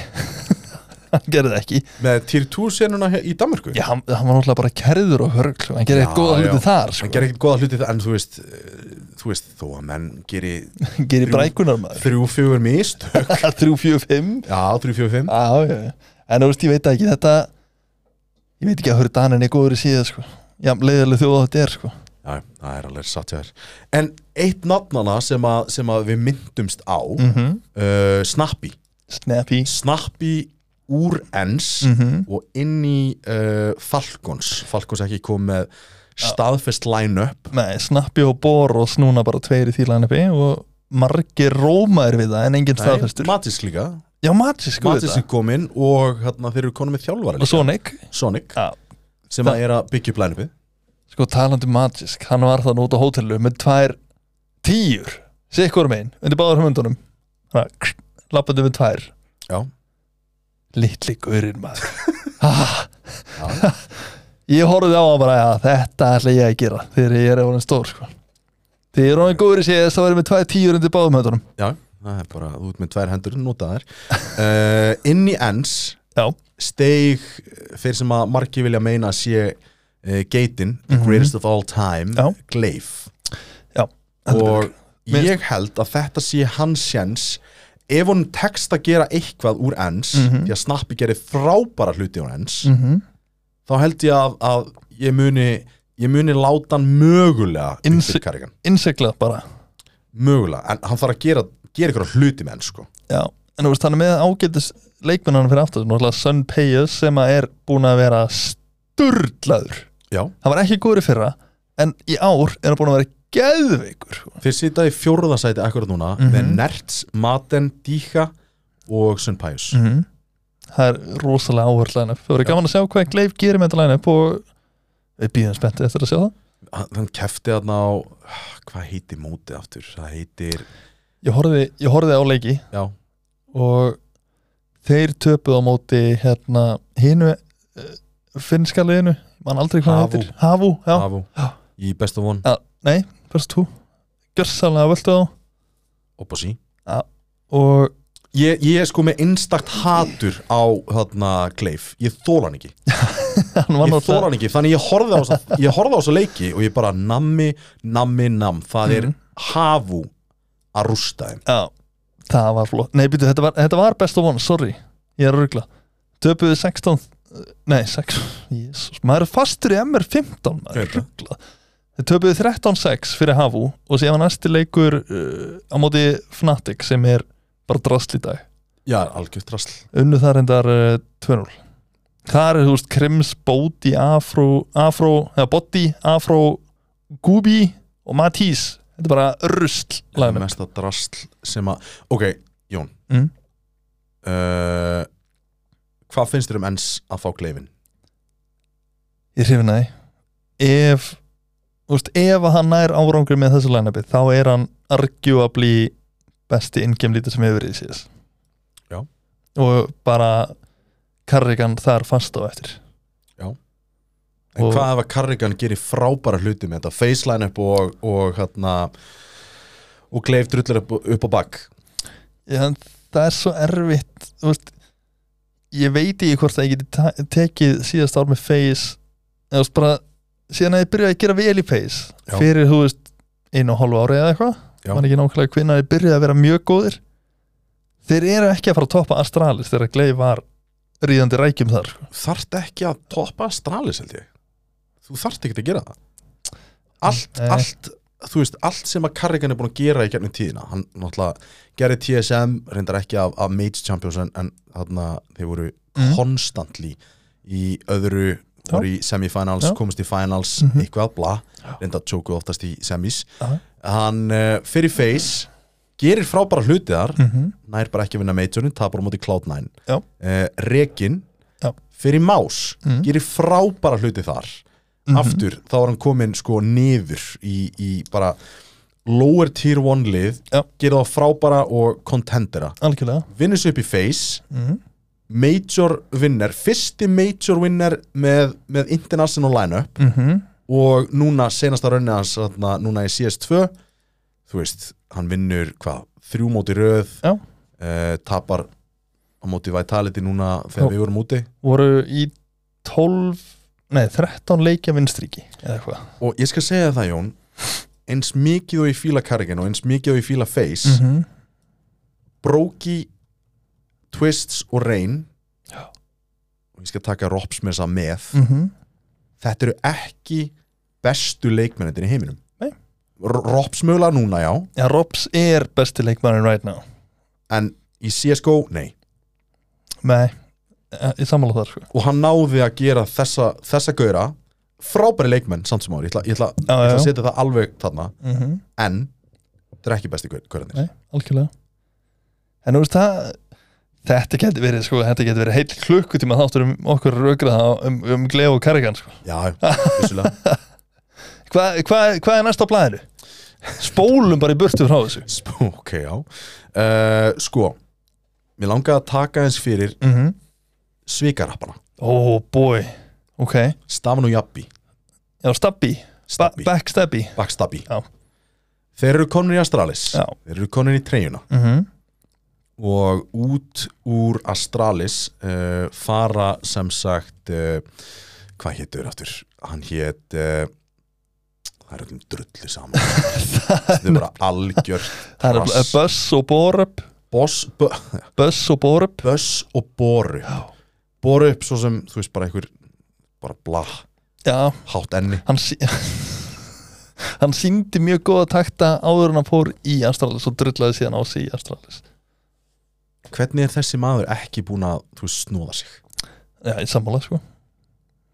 C: hann gerði það ekki
B: með Tyr 2 senuna í Danmarku
C: já, hann, hann var náttúrulega bara kerður og hörgl og hann gerði
B: Já,
C: eitt góða
B: já.
C: hluti þar sko.
B: hann gerir ekkert góða hluti það en þú veist eh, þú veist þó að menn gerir
C: hann gerði
B: þrjú-
C: brækunar maður
B: þrjú fjögur mist já,
C: 3, 4, 5
B: þrjú fjögur fimm
C: Já, já, já. en þú veist, ég veit það ekki þetta ég veit ekki að hörðu Danin er góður í síða sko. já, leiðileg þjóð þetta er sko.
B: já, það er alveg satt hjá þér en eitt nafnana sem að, sem að við myndumst á
C: -hmm.
B: uh, Snappy
C: Snappy
B: Snappy úr ens og inn í uh, Falcons Falcons ekki kom með staðfest line-up
C: Nei, Snappy og Boros núna bara tveir í þýlanepi og margir rómaðir við það en enginn staðfestur
B: Matis líka
C: Já, Matis sko
B: Matis
C: Matis
B: er kominn og hérna, þeir eru konum með þjálfara
C: og
B: líka,
C: Sonic
B: Sonic
C: Já.
B: sem að er að byggja upp line-upið
C: sko talandi um Matis, hann var þann út á hótelu með tvær tíur sikkur megin, undir báður höfundunum lappandi með tvær
B: Já.
C: litli gaurinn maður ah, ég horfði á hann bara ja, þetta ætla ég að gera þegar ég er orðin stór sko. þegar ég er orðin góður í CS þá verðum við tvær tíur undir báðum höndunum
B: Já, það er bara út með tvær hendur notaðar uh, Inn í ens
C: já,
B: steig eh, þeir sem að margi vilja meina að sé uh, geitin, the greatest of all time
C: Mhm. Já.
B: Gleif
C: já heldur
B: og
C: betur. Mér-
B: ég held að þetta sé hans sjens ef hún tekst að gera eitthvað úr ens því að Snappi gerir frábæra hluti úr ens
C: Mhm.
B: þá held ég að, að ég muni ég muni láta hann mögulega
C: Inns-
B: upp fyrir Carrigan.
C: innsiklað bara
B: mögulega, en hann þarf að gera gera ykkur hluti með ens sko
C: já. en þú veist hann er með ágætis leikmennan fyrir aftur, náttúrulega Sun Payas sem að er búin að vera sturlaður
B: Já.
C: hann var ekki góður í fyrra en í ár er hann búin að vera geðveikur sko.
B: Þeir sita í fjórðasæti akkurat núna með
C: Mhm.
B: Nerts, Maten, Díka og Sunpæjus mm.
C: -hmm. Það er rosalega áhörð line-up Það verður gaman að sjá hvað Gleif gerir með þetta line-up og við býðum spenntið eftir að sjá það
B: Ah, Hann kefti þarna á hvað heitir mótið aftur? Það heitir
C: Ég horfði, ég horfði á leiki
B: Já,
C: og þeir töpuð á móti hérna hinu eh, finnska liðinu, mann aldrei hvað það
B: Hafú.
C: heitir Havu, já,
B: Hafu
C: Já.
B: í Best of One
C: já nei, fyrst þú gjörsalega völdu á
B: upp á sí
C: og
B: Ég, ég er sko með einstakt hatur á þarna Gleif, ég þóla hann ekki ég
C: hann var
B: þóla
C: náttúrulega
B: hann ekki, þannig ég horfði á þessa- ég horfði á þessa leiki og ég bara nammi, nammi, nam, það
C: Mhm.
B: er hafu að rústa þeim
C: já, það var flott, nei býtu, þetta var, þetta var best of one, sorry, ég er að rugla töpuðu 16 nei, 6, jésus, maður er fastur í MR15, maður er
B: Þetta.
C: rugla þeir töpuðu 13-6 fyrir Havu og séðan næsti leikur uh, á móti Fnatic sem er bara drasl í dag,
B: Já, algjört rasl
C: unnu þar endar uh, 2-0 þar er þú veist Krims, Bóti, Afro Afro, eða Botti, Afro Gubi og Matís þetta er bara rusl lagnum
B: mesta drasl sem að ok, Jón
C: Mm.
B: uh, hvað finnst þér um ens að fá gleifin?
C: Ég hrifin að því Ef þú veist, Ef að hann nær árangur með þessu line-upi Þá er hann arguably Besti ingame lítið sem hefur verið í síðast
B: Já.
C: Og bara Carrigan þar fast á eftir
B: en
C: Og-
B: hvað ef að Carrigan gerir frábæra hluti með þetta faceline upp og, og hérna og gleif drullar upp, upp á bakk
C: Já, en það er svo erfitt þú veist, ég veit ekki hvort að ég geti ta- tekið síðast ár með face eða þú veist, bara síðan að ég byrjaði að gera vel í face
B: Já.
C: fyrir þú veist einu og hálfu ári eða eitthvað
B: Já.
C: man ekki nákvæmlega hvenær ég byrjaði að vera mjög góðir þeir eru ekki að fara að toppa Astralis þegar Glei var ríðandi rækjum þar sko.
B: þarft ekki að toppa Astralis held ég þú þarft ekki að gera það allt,
C: Nei.
B: allt þú veist, allt sem að Carrigan er búin að gera í gegnum tíðina hann náttúrulega gerði TSM reyndar ekki af, af Mage Champions en, en þarna þeir voru
C: Mhm.
B: constantly í öðru
C: Já.
B: voru í semifinals,
C: Já.
B: komist í finals
C: Mhm.
B: eitthvað bla,
C: Já.
B: reynda að tjóku oftast í semis
C: Aha.
B: hann uh, fyrir face gerir frábæra hluti þar
C: Mhm.
B: nær bara ekki að vinna majorin, tapar á móti Cloud9
C: Já.
B: Eh, Rekin
C: Já.
B: fyrir Más,
C: Mhm.
B: gerir frábæra hluti þar
C: Mhm.
B: aftur, þá er hann komin sko niður í, í bara lower tier 1 lið
C: Já.
B: gerir það frábæra og contendera
C: algjörlega
B: vinnur sér upp í face
C: Mhm.
B: major vinner, fyrsti major vinner með, með international lineup
C: Mhm.
B: og núna senasta raunin hans þarna, núna í CS2 þú veist, hann vinnur hvað, þrjú móti röð
C: Já.
B: eh, tapar á móti Vitality núna þegar
C: Já.
B: við vorum úti
C: voru í 12 nei 13 leikja vinnstríki eða eitthvað
B: og ég skal segja það Jón eins mikið og ég fíla Kargin og eins mikið og ég fíla Face
C: Mhm.
B: Bróki, Twists og Rain
C: Já.
B: og ég skal taka Rops með þessa með
C: Mhm.
B: þetta eru ekki bestu leikmennir í heiminum
C: Nei.
B: Rops mögulega núna já
C: Já, Robs er besti leikmærin right now
B: en í CSGO, nei
C: Nei, eh, ég sammála þar sko.
B: og hann náði að gera þessa, þessa gauðra frábæri leikmenn samt sem ári, ég ætla, ég ætla, ég
C: Já,
B: ætla
C: já,
B: að
C: já.
B: setja það alveg þarna
C: Mm -hmm.
B: en þetta er ekki besti gauðarnir
C: Nei, algjörlega En þú veist það Þetta getur verið, sko, þetta getur verið heil klukkutíma þáttur um okkur raukraða um, um Gleo og Kargan, sko.
B: já, vissulega
C: Hvað hva, hva er næst á blæðinu? Spólum bara í burtu frá þessu.
B: Sp- ok, já uh, sko, mér langaði að taka eins fyrir
C: Mm -hmm.
B: svikarappana
C: Oh boy, ok.
B: Stafan og Jappi,
C: Já, stabbi, ba
B: Stabbi,
C: backstabbi.
B: Backstabbi
C: Já.
B: þeir eru komin í Astralis
C: Já.
B: þeir eru komin í treyjuna
C: Mm -hmm.
B: og út úr Astralis uh, fara sem sagt uh, hvað hétur aftur hann hét uh, það er öllum drullu saman þetta er bara algjör
C: Það er
B: Rass.
C: nefnilega Buzz og Borup,
B: boss, bu-
C: Buzz og Borup.
B: Buzz og Boru Boru upp svo sem þú veist bara einhver bara bla,
C: Já,
B: hátt enni
C: hann sí hann síndi mjög góða takta áður en hann fór í Astralis og drullaði síðan á sig í Astralis
B: hvernig er þessi maður ekki búin að þú veist, snúða sig
C: já, í sammála sko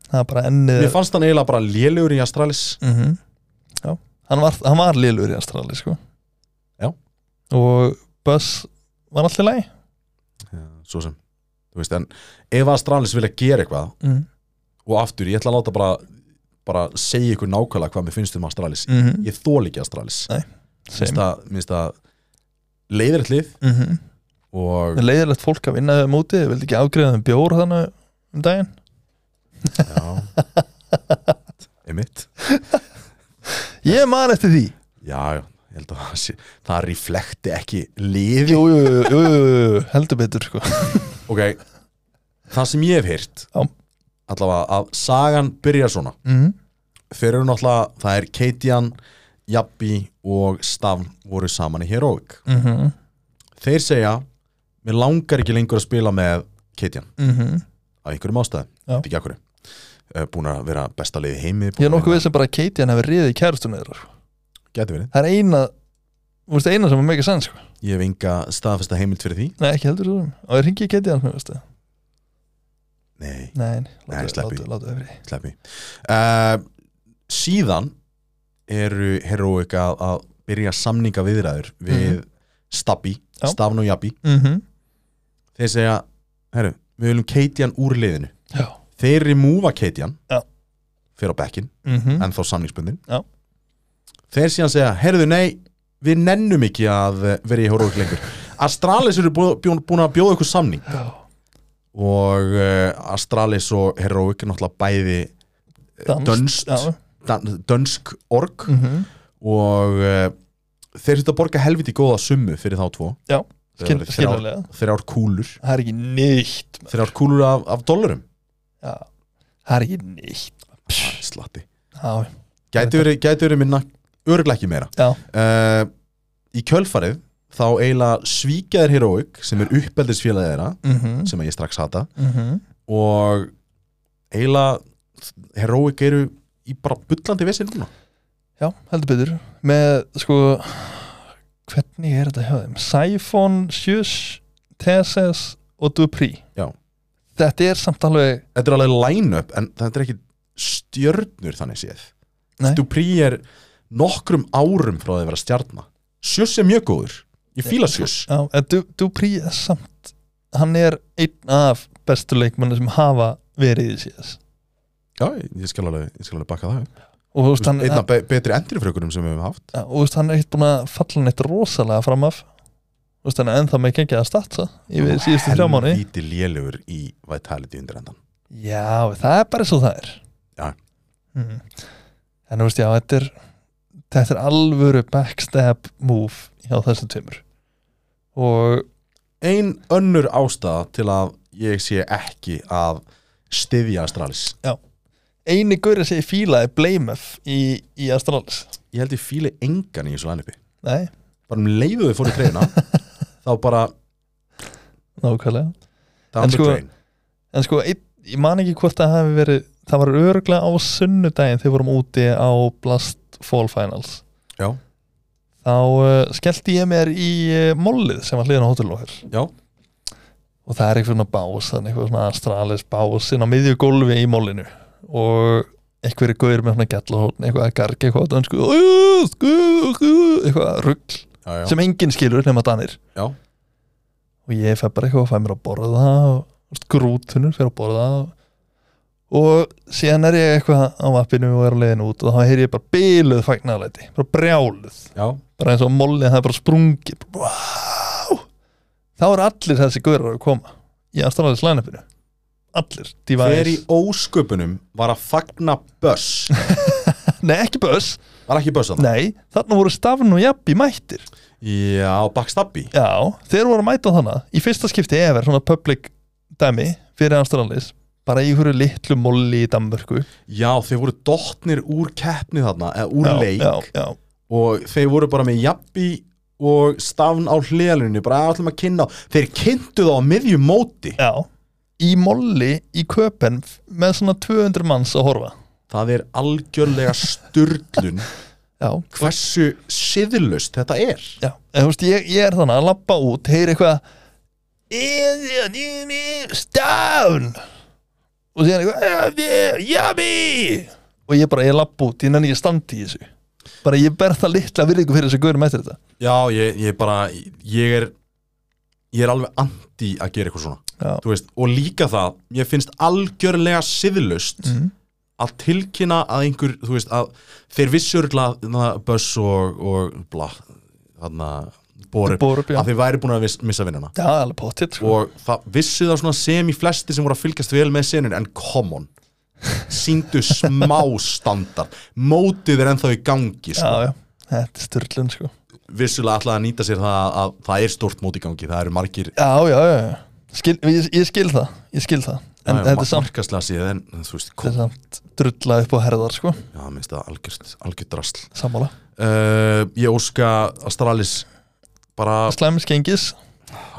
C: það er bara ennið
B: mér fannst hann eiginlega bara lélugur í Astralis
C: mm já, hann var, hann var lélur í Astralis sko
B: Já.
C: og Buzz var allir læg
B: Já, svo sem, þú veist en ef Astralis vilja gera eitthvað
C: mm
B: og aftur, ég ætla að láta bara bara segja ykkur nákvæmlega hvað mér finnst um Astralis
C: -hmm.
B: ég þól ekki Astralis
C: Nei,
B: minnst það, minnst það leiðir eitt lið
C: mm -hmm.
B: og
C: leiðilegt fólk að vinna þeim úti vildi ekki afgreða þeim bjór þannig um daginn
B: já emitt,
C: ég man eftir því
B: já, já, ég held að það, sé, það reflekti ekki liði
C: jú, jú, jú, jú, jú, jú, heldur betur sko
B: ok, það sem ég hef heyrt
C: Já.
B: allavega að sagan byrjar svona
C: mm
B: þeir eru náttúrulega, það er Keitian Jappi og Stavn voru saman í Heroic
C: -hmm.
B: þeir segja, mér langar ekki lengur að spila með Keitian
C: Mm -hmm.
B: af einhverjum ástæðum,
C: Já.
B: þetta ekki akkur búin að vera besta liði í heimi
C: Ég er nokkuð við sem bara að Katie hann hefur riðið kærustunni þeirra sko.
B: geti verið,
C: Það er eina Þú veist, eina sem er mega sann sko.
B: ég hef enga staðfesta heimild fyrir því
C: Nei, ekki heldur þú um Og ég ringi Katie hann, veist það
B: nei,
C: Nei, nei,
B: Nei, sleppi.
C: látu, látu efri
B: sleppi uh, síðan eru Heroic að, að byrja samninga viðræður við Stabbi,
C: Mhm. Já.
B: Stafn og Jabbi
C: mm -hmm.
B: þeir segja, herru, við viljum Keitian úr liðinu
C: Já
B: þeir remúva Keitian
C: Já.
B: fyrir á bekkin,
C: mm -hmm.
B: en þá samningsbundin
C: Já.
B: þeir síðan segja, herðu nei við nennum ekki að eh, vera í Heroic lengur Astralis eru búin, búin að bjóða ykkur samning
C: Já
B: og uh, Astralis og Heroic er náttúrulega bæði
C: Dans
B: dönst.
C: Já
B: dan- dönsk org eh,
C: mm -hmm.
B: og uh, þeir þurftu að borga helviti góða summu fyrir þá tvo Það verður þrjár-
C: skiljulega
B: Þrjár kúlur
C: það er ekki nýtt
B: Þrjár kúlur af, af dollurum
C: já, það er ekki nýtt Pss,
B: Slatti
C: já,
B: Gæti verið, gæti verið minna Örglega ekki meira
C: já,
B: uh, Í kjölfarið Þá eiginlega svíkjaðir Heroic Sem er uppeldisfélagið þeirra
C: mhm,
B: Sem að ég strax hata
C: mhm
B: Og eiginlega Heroic eru í bara bullandi vesinn núna
C: já, heldur betur með sko hvernig er þetta hjá þeim Siphon, Sjus, TSS og Dupri
B: Já.
C: þetta er samt alveg
B: Þetta er alveg line-up En þetta er ekki stjörnur þannig séð
C: Nei.
B: Dupri er nokkrum árum Frá því að vera stjarna Sjöss er mjög góður Ég fíla sjöss
C: já, en Du- Dupri er samt hann er einn af bestu leikmanni sem hafa verið í CS
B: Já, ég ég skal alveg, ég skal alveg bakka það upp.
C: og þú
B: Þú
C: veist,
B: veist,
C: hann,
B: Einn af be betri endurfrökunum sem við höfum haft
C: Já, og þú veist, hann er ekkert búin að falla neitt rosalega fram af Þú veist, hann er ennþá með gengið að statsa yfir síðustu þrjá mánu
B: Víti lélugur í Vitality undir endan
C: Já, það er bara svo það er
B: Já.
C: mm. En þú veist, já, þetta er þetta er alvöru backstab move hjá þessum tveimur og
B: Ein önnur ástæða til að ég sé ekki að styðja Astralis
C: eini gaurið sem ég fílaði Blamef í, í Astralis
B: Ég held ég fíli engan í þessu lænleipi
C: Nei,
B: Bara um leiðu þau fóru í treyna Þá bara
C: nákvæmlega En
B: down the
C: sko-
B: drain
C: En sko, ein, ég man ekki hvort það hafi verið það var öruglega á sunnudaginn þegar við vorum úti á Blast Fall Finals
B: Já,
C: þá uh, skellti ég mér í uh, mollið sem var hliðin á hótelinu okkar
B: já,
C: og það er eitthvað svona bás þannig eitthvað svona astralis bás inn á miðju gólfi í mollinu og einhverju gauður með svona gællahóðn eitthvað að gargi eitthvað á dönsku, "Ú, sku, sku", eitthvað rugg
B: já, já,
C: sem enginn skilur nema danir
B: já.
C: og ég fæ bara eitthvað að fæ mér að borða og þú veist, grútunur fyrir að borða og- og síðan er ég eitthvað á mappinu og er á leiðin út og þá heyr ég bara biluð fagnalæti bara brjáluð
B: já.
C: bara eins og mollið það er bara sprungið bara, wow! þá eru allir þessi gaurar að koma í aðstæðanlega slænefinu allir,
B: Hver í
C: Device
B: ósköpunum var að fagna Buzz
C: nei ekki Buzz,
B: Var ekki Buzz þarna?
C: nei, þarna voru Stafn og Jabbi mættir,
B: Já, Backstabbi
C: já, þeir voru að mæta þarna í fyrsta skipti efer, svona public dæmi fyrir aðstæðanlega bara í hverju litlu molli í Danmörku
B: Já, þeir voru dottnir úr keppni þarna Eða úr
C: já,
B: leik
C: já, já,
B: og þeir voru bara með jafbi og stafn á hliðalunni bara að ætlum að kynna þá. þeir kynntu þá á miðju móti
C: já í molli í köpen með svona 200 manns að horfa
B: það er algjörlega sturlun
C: já,
B: hversu siðlust þetta er
C: Já, en þú veist, ég, ég er þannig að lappa út, heyr eitthvað Indian in is down og síðan eitthvað Yummy og ég bara, ég lappa út, ég nenni ekki að standa í þessu bara ég ber það litla virðingu fyrir þessu gaurum eftir þetta
B: já, ég, ég bara ég er, ég er alveg anti að gera eitthvað svona
C: Já.
B: Þú veist, og líka það, ég finnst algjörlega siðlust
C: Mm.
B: að tilkynna að einhver, þú veist, að þeir vissjörgla Böss og, og bla, þarna Borup,
C: Borup, já.
B: að þeir væri búin að viss, missa vinnuna
C: Já, alveg pottitt, sko
B: og það vissu það svona sem í flesti sem voru að fylgjast vel með senun en common síndu smá standard mótið er ennþá í gangi sko.
C: Já, já, þetta er styrlun, sko
B: vissulega alltaf að nýta sér það að, að það er stórt mót í gangi, það eru margir
C: Já, já, já, já skil, ég, ég skil það, ég skil það en
B: það
C: þetta er samt,
B: markaslega síðan en þú veist,
C: þetta
B: kom,
C: er samt drulla upp á herðar, sko
B: já, minnst það algjört algjört drasl
C: sammála,
B: uh, ég óska Astralis bara,
C: slæmis gengis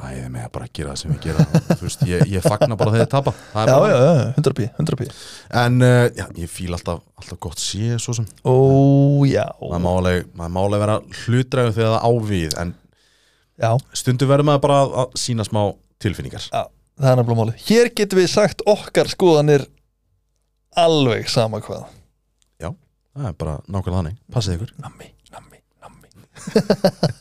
B: æði mig að bara gera það sem við gera þú veist, ég, ég fagna bara þegar þið tapa Það er
C: Já, já,
B: bara-
C: já, 100 pí, 100 pí
B: en uh, já, ég fíl alltaf, alltaf gott sé svo sem
C: Ó, já
B: maður má alveg- maður má alveg vera hlutræðu þegar það ávið en
C: Já,
B: stundum verður maður bara að- að sína smá tilfinningar
C: já, það er nefnilega málið Hér getum við sagt okkar skoðanir alveg sama hvað
B: það er bara nákvæmlega þannig, passið ykkur
C: Nammi, nammi, nammi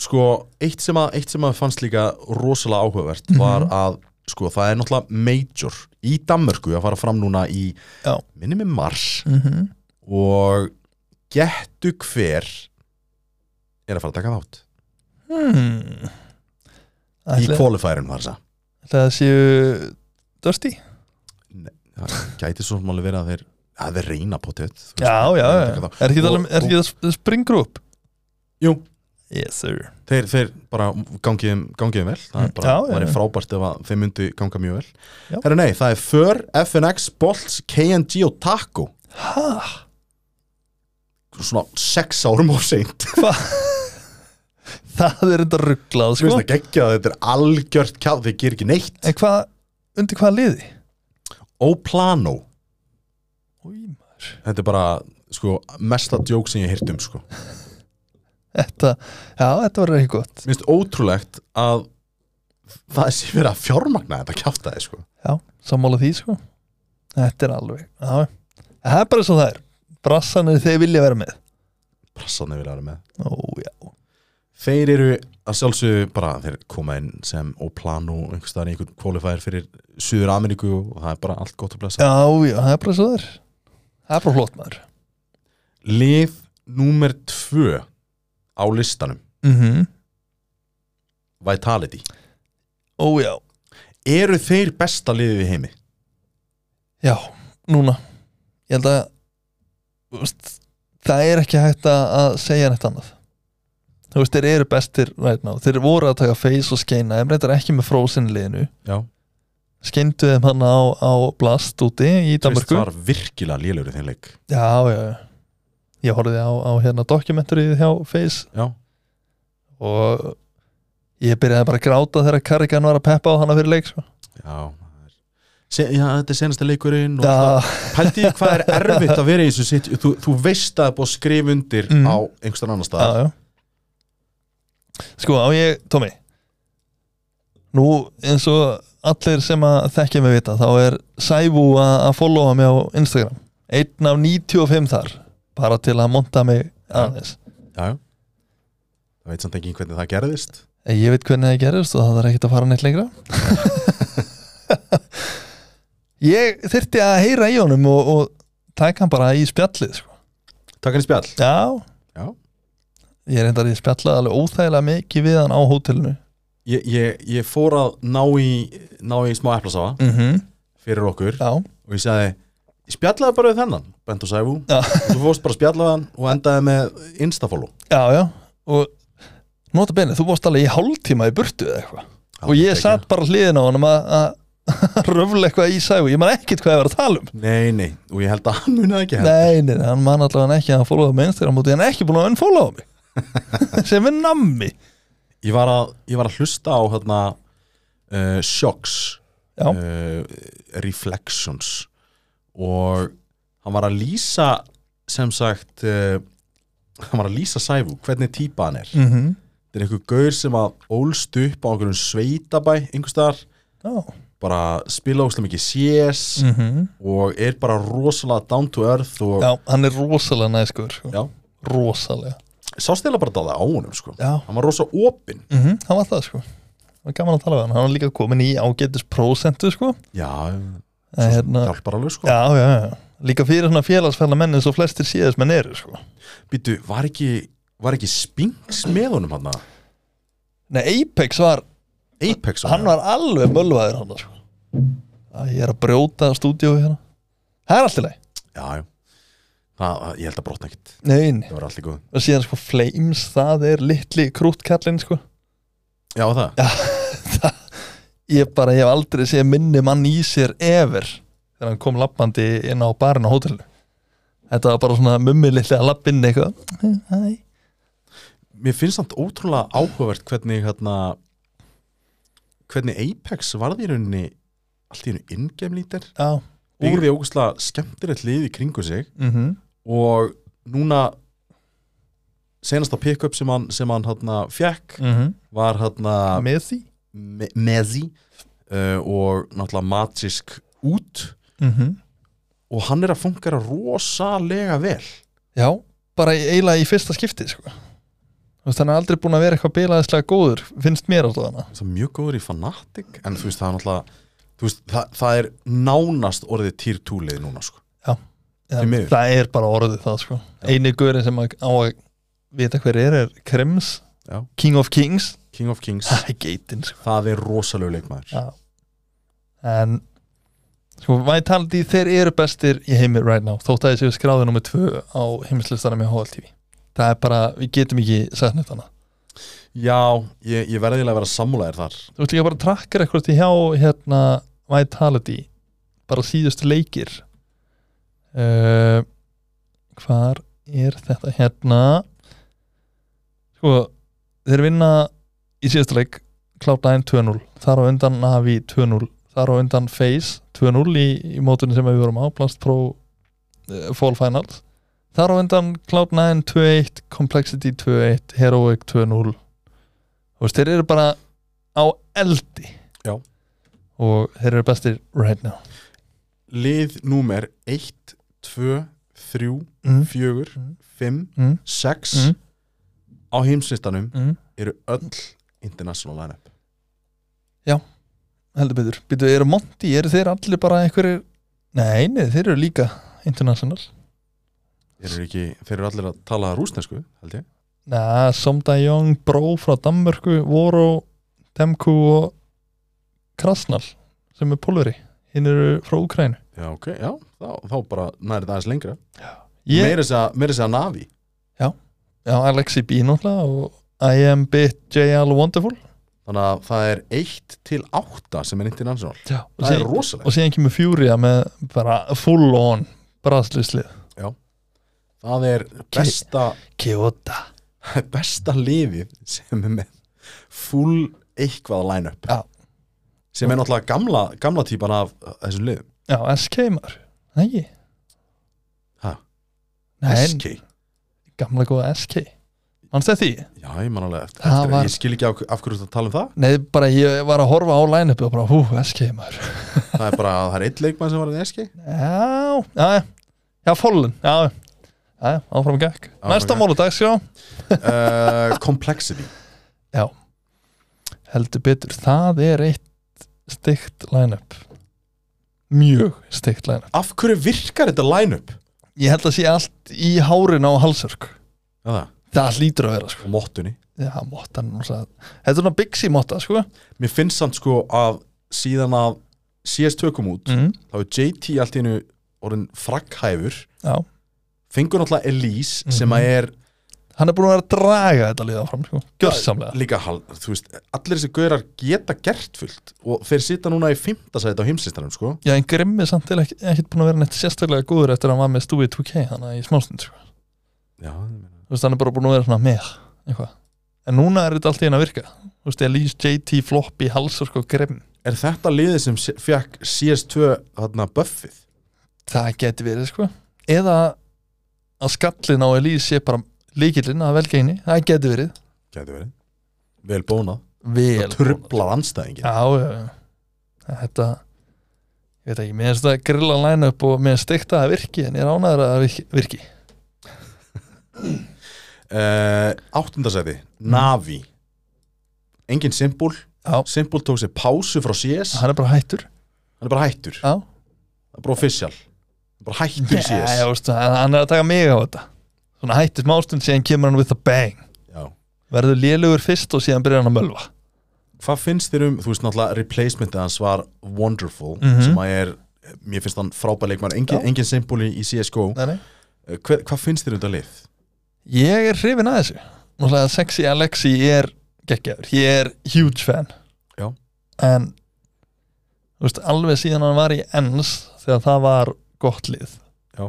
B: sko, eitt sem að, eitt sem að fannst líka rosalega áhugavert
C: Mhm.
B: var að sko, það er náttúrulega major í Danmörku að fara fram núna í
C: Já.
B: minni með Mars
C: mm -hmm.
B: og gettu hver er að fara að taka þátt
C: hmm.
B: í
C: Ætli,
B: qualifierum þar þess að
C: ætli það séu Dusty?
B: Það gæti svo sem alveg verið að þeir að þeir reyna potið
C: Já, já, já Er ekki það, er ekki það springgroup?
B: Jú,
C: yes sir
B: þeir, þeir bara gangiðum gangiðum um vel það er bara,
C: Mm, Já, já,
B: væri
C: já.
B: frábært ef að þeir myndi ganga mjög
C: Já.
B: vel herru nei, það er för, FNX, Bolts, KNG og Taco
C: ha,
B: svona sex árum of seint
C: hva það er enda rugglað
B: sko?
C: sko.
B: það geggja að þetta er algjört kjáð þeir gerir ekki neitt
C: en hvað, undir hvað liði
B: Oplano,
C: Új, maður.
B: þetta er bara sko, mesta djók sem ég heyrt um sko.
C: þetta, já, þetta var ekki gott
B: mér finnst ótrúlegt að það sé verið að fjármagna þetta kjáta sko.
C: já, sammála því sko þetta er alveg já. það er bara svo það er brassanir þeir vilja vera með
B: prassanir vilja vera með
C: ó já,
B: Þeir eru að sjálfsögðu bara þeir koma inn sem Oplan og einhvers staðar í einhvern qualifier fyrir Suður Ameríku og það er bara allt gott að blessa
C: já, já, það er bara svo það er það er bara flott maður
B: Lif númer tvö á listanum
C: mm -hmm.
B: Vitality
C: ó já,
B: Eru þeir besta liðið í heimi?
C: já, núna ég held að þú veist, það er ekki hægt að að segja neitt annað þú veist, þeir eru bestir right now þeir voru að taka face og skeina þeim reyndar ekki með frozen liðinu
B: Já
C: skeindu þeim hann á, á blast úti í
B: Það
C: Danmarku
B: var virkilega lélegur í þeim leik
C: já, já, já ég horfði á, á hérna dokumentarið hjá Face
B: Já
C: og ég byrjaði bara að gráta þegar Karrigan var að peppa á hana fyrir leik sko.
B: Já, Se, já þetta er senasta leikurinn og
C: da,
B: Pældi því hvað er erfitt að vera í þessu sitt Þú, þú veist að það er búið að skrifa undir
C: Mm.
B: á einhverstað annar
C: já,
B: stað
C: já. sko á ég, Tómi nú eins og allir sem að þekkja mig vita þá er Sæbú að að followa mig á Instagram einn af 95 þar bara til að monta mig aðeins
B: Já, já Það veit samt ekki hvernig það gerðist
C: En Eh, Ég veit hvernig það gerist og það er ekkert að fara neitt lengra Ég þyrfti að heyra í honum og, og taka hann bara í spjallið sko.
B: Takk hann í spjall
C: Já,
B: Já.
C: Ég er reyndar í spjallið alveg óþægilega mikið við hann á hótelinu
B: Ég, ég, ég fór að ná í, ná í smá eplasafa
C: mm -hmm.
B: fyrir okkur
C: Já,
B: og ég sagði, ég spjallaði bara við þennan Bent og Sæfú,
C: Já.
B: og þú fórst bara að spjalla við hann og endaði með instafollow
C: já, já Og nota benni, þú bóst alveg í hálftíma í burtu eða eitthvað Og ég satt bara hliðin á honum að að röfla eitthvað í sægu Ég man ekkert hvað ég var að tala um
B: Nei, nei, og ég held að hann munið ekki heldur.
C: Nei, nei, hann man allavega ekki að hann fólóða með Instagram út í hann er ekki búin að unfollowa mig sem er nammi
B: ég var, að, ég var að hlusta á hérna, uh, Shocks
C: Já.
B: uh, Reflections og hann var að lýsa sem sagt uh, hann var að lýsa Sæfú, hvernig típa hann er
C: mm
B: þetta er einhver gaur sem að ólst upp á einhverjum sveitabæ einhvers staðar,
C: Já, Mhm.
B: bara spila óslega mikið CS
C: Mm.
B: og er bara rosalega down to earth og
C: já, hann er rosalega næskur sko.
B: Já.
C: Rosalega
B: sást eða bara dáða á honum sko
C: Já,
B: hann var rosa opinn
C: mm hann var það sko Það var gaman að tala við hann, hann var líka komin í ágætis prósentu sko
B: já,
C: En hérna,
B: hjálpar alveg sko
C: já, já, já Líka fyrir svona félagsfæla menn eins og flestir síðast menn eru sko
B: býtu, var ekki, var ekki Spinks með honum hann
C: Nei, Apex var,
B: Apex
C: hann var alveg mölvaður hann sko Æ, Ég er að brjóta stúdíói hérna Það er allt í lagi
B: já, já. Það, það- ég held að brotna ekkit
C: Nei, nei.
B: það var allir góð
C: og síðan sko Flames, það er litli krúttkallinn sko
B: já, það,
C: ég bara, ég hef aldrei séð minni mann í sér ever þegar hann kom lappandi inn á barinn á hótelinu þetta var bara svona mummi litli að lapp inn eitthvað Hæ.
B: mér finnst samt ótrúlega áhugavert hvernig hérna hvernig Apex varði í rauninni allt í einu ingemlítir
C: já, úr
B: byggði ógustlega skemmtilegt lið í kringu sig
C: mm -hmm.
B: og núna senasta pick-up sem hann, sem hann hana, fekk var hana,
C: mhm. með því
B: me Mezi uh, og náttúrulega Magisk út
C: Mhm.
B: og hann er að fungera rosalega vel
C: já, bara í- eiginlega í fyrsta skipti sko Þú veist, hann er aldrei búin að vera eitthvað bilaðislega góður finnst mér alltaf hana
B: það er mjög góður í Fnatic en þú veist það er náttúrulega þú veist, það, það er nánast orðið týr túlið núna sko. Því miður.
C: það er bara orðið það sko eini guðurinn sem að- á að vita hver er er Krems,
B: Já.
C: King of Kings
B: King of Kings,
C: það er geitin sko
B: það er rosalegu leikmaður
C: Já. En sko, Vitality, þeir eru bestir í heimi right now, þótt að ég séu skráðið nummer tvö á heimslistanum í HLTV. Það er bara, við getum ekki sagt neitt annað.
B: Já, ég, ég verði eiginlega að vera sammálaðir þar
C: þú veist líka bara trakkar eitthvað hjá hérna Vitality bara síðustu leikir uh, hvar er þetta hérna sko þeir vinna í síðustu leik Cloud9 2-0, þar á undan Navi 2-0, þar á undan FaZe 2-0 í, í mótunni sem við vorum á Blast Pro uh, Fall Finals þar á undan Cloud9 2-1 Complexity 2-1, Heroic 2-0 þú veist, þeir eru bara á eldi
B: Já.
C: og þeir eru bestir right now
B: Lið númer 1, 2, 3,
C: mm.
B: 4,
C: Mm.
B: 5,
C: Mm.
B: 6
C: Mm.
B: á heimslistanum
C: Mm.
B: eru öll international lineup
C: heldur betur, býtu, eru Monty, eru þeir allir bara einhverjir, nei, nei, þeir eru líka international,
B: Þeir eru, ekki, þeir eru allir að tala rúsnesku, held ég
C: na, Somda Young Bró frá Danmörku, Voro Demku og Krasnal, sem er pólveri hinn eru frá Ukrænu
B: Já, ok, já, þá, þá bara nærið aðeins lengra
C: ég,
B: Meira þess að Navi
C: já, Alexi B náttúrulega og I am bit JL Wonderful
B: Þannig að það er 1 til 8 sem er international
C: já, og,
B: Það er
C: síðan,
B: rosalegt
C: og síðan kemur Furia með bara full on braðslislið,
B: Það er besta,
C: Kyoto
B: besta liðið sem er með full eitthvað line-up
C: Já.
B: sem er náttúrulega gamla, gamla típan af uh, þessum liðum
C: Já, SK maður Nei,
B: ha,
C: nei
B: SK
C: gamla góða SK Manst þetta því?
B: Já, ég man alveg eftir,
C: Það
B: eftir
C: var-
B: ég skil ekki af, af hverju þú ert að tala um það
C: Nei, bara ég var að horfa á line-upi og bara, hú, SK maður
B: það er bara, það er eitt leikmann sem var en SK
C: Já, já, já Já, fólun, já, já, já, áfram gekk
B: Áfram
C: Næsta
B: gekk.
C: máludag, sjá
B: uh, Complexity
C: Heldur betur, það er eitt stygt line-up Mjög stygt line-up
B: Af hverju virkar þetta line-up?
C: Ég held að sé allt í hárin á halsörk
B: Já, það,
C: Það hlýtur að vera, sko
B: og mottunni
C: Já, mottan, hún sagði Þetta er svona Bixi motta, sko
B: Mér finnst samt sko að síðan að CS2 kom út,
C: mm.
B: þá er JT allt í einu orðin fragghæfur
C: Já,
B: fengur náttúrulega Elise sem
C: Mhm.
B: að er
C: hann er búin að vera að draga þetta liða áfram, sko Gjörsamlega
B: líka hal- þú veist, allir þessi gaurar geta gert fullt og þeir sita núna í fymtasæti á heimslistanum sko.
C: Já, en Grimmi er samt til ekki, ekkert búin að vera neitt sérstaklega góður eftir að hann var með stúið 2K þannig að í smástund, sko.
B: Já, ég meina.
C: Þú veist, hann er bara búin að vera svona með, eitthvað. En núna er þetta allt í henn að virka. Þú veist, Elise, JT, Floppy, Halsork og sko, Grimm.
B: er þetta liðið sem fekk CS2 þarna buffið?
C: Það geti verið, sko. Eða að skallin á Elise sé bara líkillinn að velja henni. Það geti verið.
B: Gæti verið Vel bónað,
C: Vel.
B: það trublar anstæðingin
C: Já, já, já. Þetta, ég veit ekki, mér finnst þetta grilla line up og mér finnst þetta að það virki en ég er ánæður að það virki- virki.
B: uh, Áttundasæti, Navi Engin Simple
C: Já.
B: Simple tók sér pásu frá CS
C: Hann er bara hættur.
B: Hann er bara hættur,
C: Já.
B: hann er bara official Hann er bara hættur í
C: Já,
B: CS
C: já, veistu, hann hann er að taka mig á þetta Svona hættir smástund síðan kemur hann with a bang
B: Já.
C: Verður lélugur fyrst og síðan byrjar hann að mölva
B: Hvað finnst þér um, þú veist náttúrulega replacementið hans var Wonderful
C: Mhm.
B: sem að er, mér finnst hann frábær leikmann engin,
C: Já.
B: engin symbóli í CSGO
C: nei, nei.
B: Hver, Hvað finnst þér um þetta lið?
C: Ég er hrifin að þessu Náttúrulega sexy Alexi er geggjaður Ég er huge fan
B: Já.
C: En þú veist, alveg síðan hann var í Ens þegar það var gott lið
B: Já.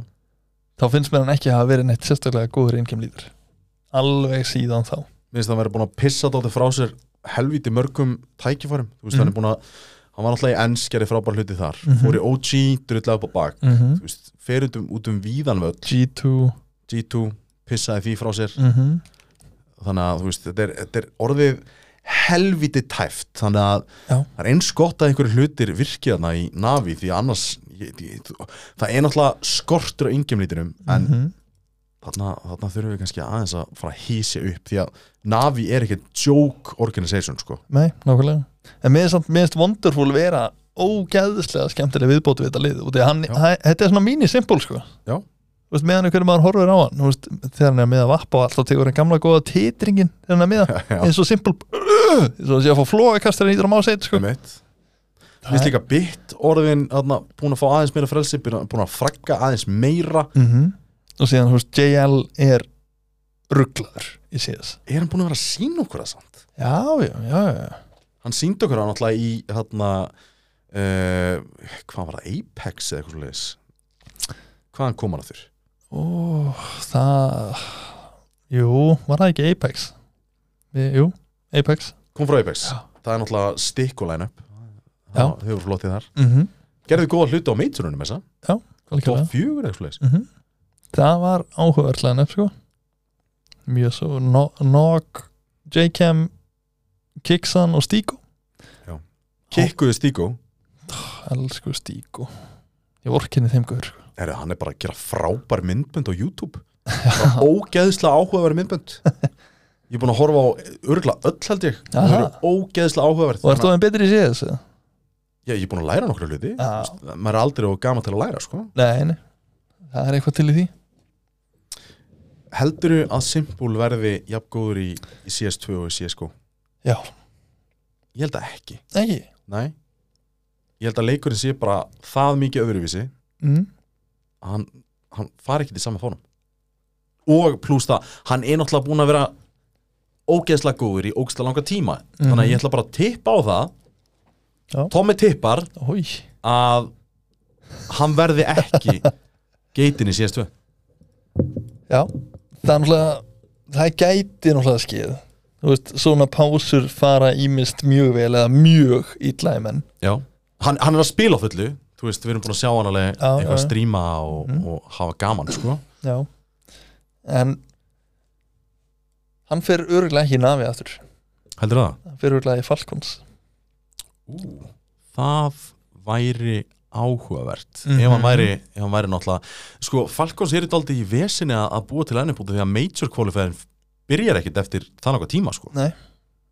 C: Þá finnst mér hann ekki að hafa verið neitt sérstaklega góður innkjumlítur Alveg síðan þá
B: Mér finnst hann verið búin að pissa þáttu frá sér helvíti mörgum tækifærum þú veist
C: Mhm.
B: hann er búin að, hann var náttúrulega í enns gerði frábær hluti þar,
C: Mhm.
B: fór í OG drullega upp á bak,
C: mm -hmm.
B: þú veist, fer út um, út um víðan völl,
C: G2
B: G2 pissaði því frá sér,
C: mm -hmm.
B: þannig að þú veist, þetta er, þetta er orðið helviti tæft, þannig að
C: Já.
B: það er eins gott að einhverju hlutir virki þarna í Navi því að annars ég, ég, þú- það er náttúrulega skortur á yngjumlítinum
C: Mhm.
B: en þarna, þarna þurfum við kannski aðeins að fara að hísja upp því að Navi er ekkert joke organization sko
C: Nei, nákvæmlega En mér er samt minnst Wonderful vera ógæðislega skemmtileg viðbót við þetta lið út í að hann,
B: Já.
C: hæ, þetta er svona mínisymbol sko
B: Já.
C: Þú veist, meðan hvernig maður horfir á hann þú veist, þegar hann er með að vappa og alltaf tegur hann gamla góða titringin þegar hann er með að
B: Já,
C: eins og simpul eins og sé að fá flóakastar hýtur á máseit sko.
B: um eitt Mér finnst líka bytt orðin þarna, búin að fá aðeins meira frelsi búin að- búin að
C: Mhm.
B: fragga aðeins meira
C: mm -hmm. og síðan þú veist, JL er rugglaður ég sé þess
B: er hann búin að vera að sína okkur það samt
C: já, já, já, já,
B: hann síndi okkur hann alltaf í hérna uh, hvað var það, Apex eða eitthvað svo leiðis hvaðan kom hann að þurr
C: Ó, það jú, var það ekki Apex Við- jú, Apex
B: kom frá Apex,
C: Já.
B: það er náttúrulega stikk og line-up
C: Já.
B: það hefur flottið þar
C: mm -hmm.
B: gerðu góða hluti á meiturunum þessa top
C: algjörlega
B: 4 eða eitthvað svo leiðis
C: mm það var áhugaverðlega nefn sko mjög svo No- Nog, J-Cam Kixan og Stíko
B: kikkuðu stíku,
C: elsku Stíko ég vorkinni þeim guður sko.
B: Heru, hann er bara að gera frábær myndbönd á YouTube bara ógeðslega áhugaverð myndbönd ég er búin að horfa á örgulega öll held ég það
C: Aha.
B: eru ógeðslega áhugaverð
C: og ertu aðeins betri í séð þessu?
B: Já, ég er búin að læra nokkru hluti
C: Já.
B: Þú veist, maður er aldrei og gaman til að læra sko.
C: Nei, nei, það er eitthvað til í því
B: heldurðu að Simple verði jafn góður í, í CS2 og í CSGO
C: Já,
B: ég held að ekki,
C: ekki
B: nei ég held að leikurinn sé bara það mikið öðruvísi
C: mm.
B: að hann, hann fari ekki til sama fórum og pluss það, hann er náttúrulega búin að vera ógeðslega góður í ógeðslega langa tíma þannig að ég ætla bara að tippa á það
C: Já.
B: Tommy tippar
C: Hói,
B: að hann verði ekki geitin í CS2
C: já Það er náttúrulega, það gæti náttúrulega skeið Þú veist, svona pásur fara ímist mjög vel eða mjög illa í menn
B: Já, hann, hann er að spila á fullu Þú veist, við erum búin að sjá hann alveg
C: Já,
B: eitthvað
C: já. Mhm.
B: að stríma og, og hafa gaman, sko
C: Já En Hann fer örgulega ekki í nafi aftur
B: Heldur það?
C: Hann fer örgulega í Falcons
B: Ú. Það væri áhugavert
C: Mhm.
B: ef, hann væri, ef hann væri náttúrulega Sko, Falcons er þetta aldrei í vesinni að, að búa til ennibúti því að major qualifierin byrjar ekkit eftir þannig að tíma, sko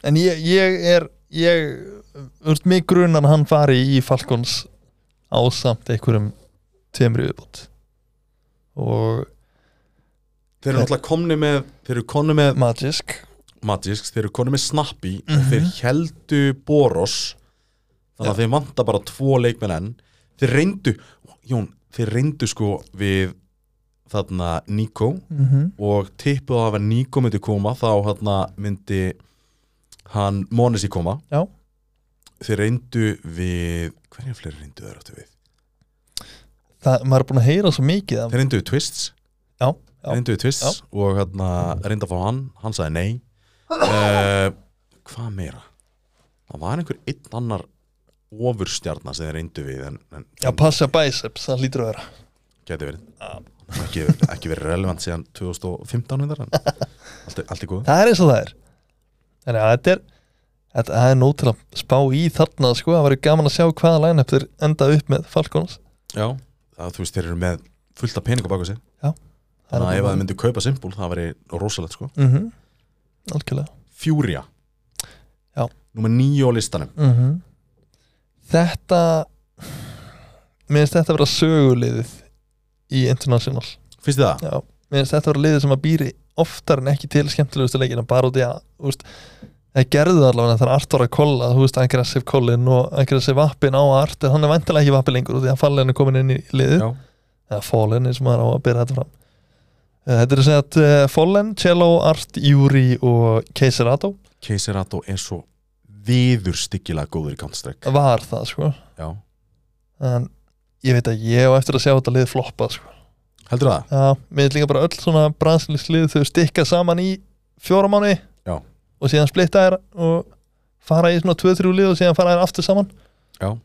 C: En ég, ég er Ég, þú veist, mig grunan hann fari í Falcons ásamt einhverjum tveimri viðbútt og
B: Þeir eru náttúrulega komni með, þeir eru komni með
C: Magisk
B: Magisk, þeir eru konum með Snappy og þeir heldu Boros þannig að þeir vanta bara tvo leikmenn enn þeir reyndu, Jón, þeir reyndu sko við þarna Nico
C: mm
B: og tippuð af að Nico myndi koma þá þarna myndi hann Monesi koma
C: Já.
B: þeir reyndu við hverja fleiri reyndu þeir áttu við
C: það, maður er búin að heyra svo mikið af,
B: þeir reyndu við Twists
C: já, já,
B: reyndu við Twists og hérna reyndu að fá hann, hann sagði nei uh, hvað meira það var einhver einn annar ofurstjarnar sem þeir reyndu við en, en
C: já, passa biceps, það lítur að vera
B: geti verið ekki, ekki verið relevant síðan 2015 reyndar, en allt, er- allt er góð
C: það er eins og það er þannig að þetta er þetta það er nóg til að spá í þarna sko, það væri gaman að sjá hvaða line-up þeir enda upp með Falcons
B: já, það, þú veist þeir eru með fullt af pening á baku sig
C: Já.
B: þannig að ef það myndi kaupa simpul það veri rosalegt sko
C: mm -hmm. algjörlega
B: Furia
C: Já.
B: Númer níu á listanum
C: mm þetta mér finnst þetta að vera söguliðið í International
B: Finnst þið það?
C: Já, mér finnst þetta að vera liðið sem að býri oftar en ekki til skemmtilegustu leikina bara út í að, þú veist það gerðu það allavega þannig að Artur að kolla þú veist, aggressive kollin og aggressive appin á Artur, hann er vantilega ekki vappi lengur út í að fallin er komin inn í liðið,
B: Já.
C: eða fallin eins og maður á að byrja þetta fram Eh, Þetta er að segja að eh, Fallen, Cello, Art, Júri og Keiserato
B: Keiserato er svo viður styggilega góður í Counter-Strike
C: var það sko
B: Já
C: en ég veit að ég á eftir að sjá þetta lið floppa sko.
B: Heldur það?
C: Já, mér finnst líka bara öll svona bransilist lið þau stikka saman í fjóra mánuði
B: Já.
C: og síðan splitta þær og fara í svona 2-3 lið og síðan fara þær aftur saman
B: Já.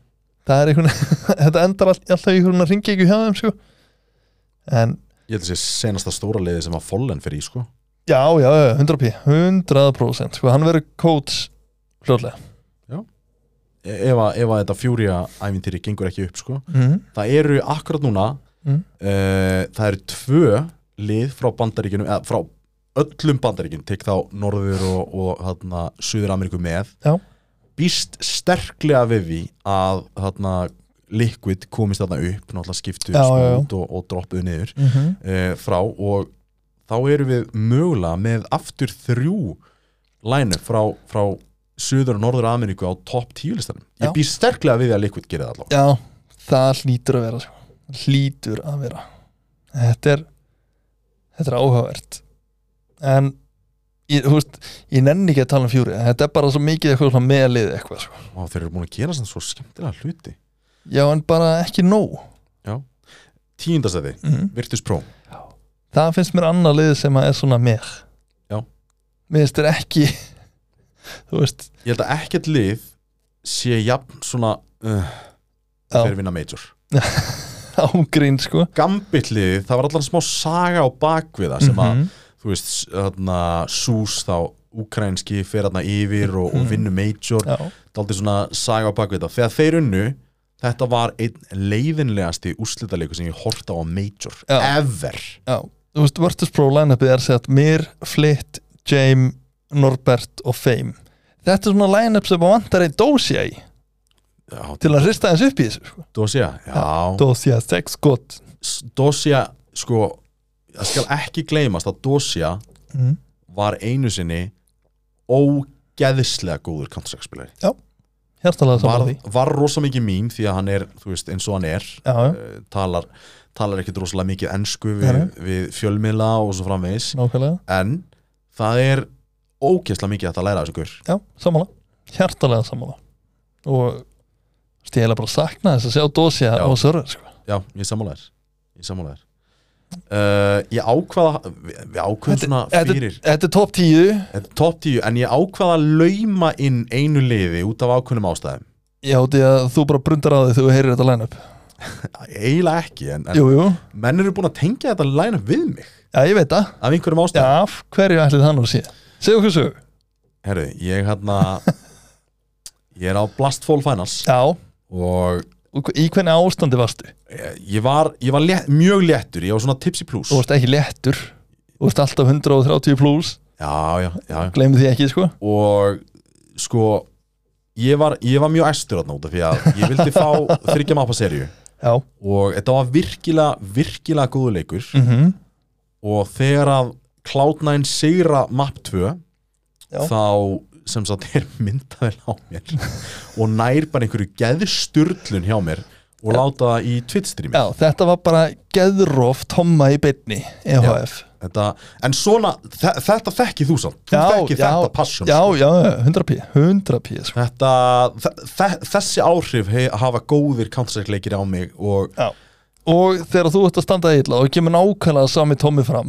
C: Það er einhvern, þetta endar all, alltaf í einhvern ringi hjá þeim sko en
B: Ég held að sé senasta stóra liði sem að Follen fyrir í sko
C: já, já, já, 100p 100% sko, hann verður coach hljóðlega
B: E- Ef að, ef að þetta Furia ævintýri gengur ekki upp sko
C: mm.
B: Það eru akkurat núna
C: Mm.
B: eh, Það eru tvö lið frá bandaríkjunum eða frá öllum bandaríkjunum tek þá Norður og, og þarna, Suður Ameríku með
C: Já.
B: Býst sterklega við því að þarna, Liquid komist þarna upp náttúrulega skiptu
C: Já, já, já.
B: út og, og droppuðu niður
C: Mm -hmm.
B: uh, frá og þá erum við mögulega með aftur þrjú lænu frá, frá Suður og Norður Ameríku á topp tíu listanum
C: Já.
B: Ég býr sterklega við að Liquid gerir það allavega
C: Já, það hlýtur að vera sko. hlýtur að vera þetta er þetta er áhugavert en ég, þú veist, ég nenni ekki að tala um fjúri þetta er bara svo mikið eitthvað svona meðalið eitthvað sko.
B: Vá, þeir eru búin að gera svona svo skemmtilega hluti
C: já en bara ekki nóg
B: Tíundastæði,
C: mm.
B: Virtus Pro
C: það finnst mér annað lið sem að er svona með
B: Já.
C: mér finnst þér ekki þú veist
B: Ég held að ekkert lið sé jafn svona uh,
C: á,
B: fyrir vinna major
C: ágrín sko
B: Gambit lið, það var allan smá saga á bakviða sem að,
C: Mhm.
B: þú veist, s- þarna Sús þá ukrainski fer þarna yfir og,
C: Mhm.
B: og vinnu major
C: já,
B: daldið svona saga á bakvið þetta þegar þeir unnu, þetta var einn leiðinlegasti úrslitaleiku sem ég horta á major,
C: Já.
B: ever
C: já þú veist Virtus Pro line-upið er sett Mir, Flitt, James, Norbert og Fame þetta er svona line-up sem að vantar einn dósja í
B: Já,
C: til að hrista eins upp í þessu sko.
B: Dosia, já
C: dósja, sex, gott
B: S- Dosia, sko það skal ekki gleymast að Dosia
C: mm.
B: var einu sinni ógeðislega góður counter-strike-spilari
C: hérstalega
B: var,
C: samar því
B: var rosa mikið mím því að hann er, þú veist, eins og hann er
C: já, já,
B: eh, talar, talar ekkit rosalega mikið ensku við,
C: Nei,
B: við fjölmiðla og svo framvegis
C: nákvæmlega
B: en það er ógeðslega mikið hægt að læra þessu gaur
C: Já, sammála, hjartalega sammála og stíðilega bara sakna þess að sjá dósja
B: Já.
C: og sörður sko.
B: Já, ég sammála þér Ég sammála þér uh, Ég ákvaða Við, við ákvaðum svona
C: Þetta-
B: fyrir
C: Þetta er topp 10
B: Þetta er topp 10 En ég ákvaða að lauma inn einu liði út af ákvönum ástæðum
C: Já, því að þú bara brundar á því þegar þú heyrir þetta line-up
B: Eiginlega ekki En, en
C: Jú, jú,
B: menn eru búin að tengja þetta læna við mig
C: já ég veit það
B: Af einhverjum
C: Já,
B: ástæðum
C: af hverju ætlið það nú sé Segðu okkur sögu
B: Herðu, ég hérna Ég er á Blastfall Finals
C: Já,
B: Og
C: og hv- í hvernig ástandi varstu?
B: eh, ég var, ég var létt, mjög léttur Ég var svona tipsy plus
C: Þú varst ekki léttur Þú varst alltaf 130 plus
B: Já, já, já, já
C: Gleimið því ekki, sko
B: og sko ég var, ég var mjög æstur þarna út af því að ég vildi fá þryggja mappa serju
C: Já,
B: og þetta var virkilega, virkilega góðu leikur
C: mm
B: og þegar að Cloud9 sigra map 2
C: Já.
B: þá sem sagt er myndaðil á mér og nær bara einhverju geðsturlun hjá mér og láta það í Twitch streami
C: já þetta var bara geðróf Tomma í beinni, E EHF
B: þetta, en svona, þe þetta þekki þú samt þú þekki þetta passion
C: Já,
B: sko.
C: já, 100 pí, 100 pí, sko
B: þetta, þe- þe- þessi áhrif hei, hafa góðir counter-strike leikir á mig og
C: Já. og þegar þú ert að standa illa og kemur nákvæmlega sami Tommy fram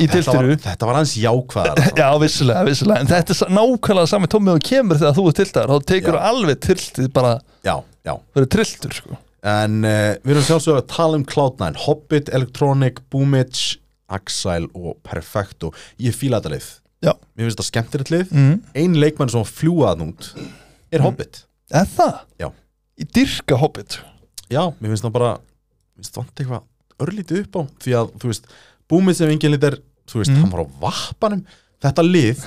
C: í
B: þetta var,
C: tiltiru
B: þetta var aðeins jákvæðar
C: já, vissulega, vissulega, en þetta er sa- nákvæmlega sami Tommy og kemur þegar þú ert tiltar þá tekur
B: Já.
C: þú alveg tiltið bara
B: já, já
C: verið trilltur, sko
B: en uh, við erum sjálfsögur að tala um Cloud9 Hobbit, Electronic, Boomage Axile og Perfecto ég fíla þetta lið,
C: já,
B: mér finnst þetta skemmtilegt lið
C: mm.
B: ein leikmann sem fljúað nút er Hobbit,
C: er það?
B: Já.
C: í dyrka hobbit
B: já, mér finnst það bara mér finnst vant eitthvað örlítið upp á því að, þú veist, Boomage sem engin lit er þú veist,
C: Mm.
B: hann var á vappanum þetta lið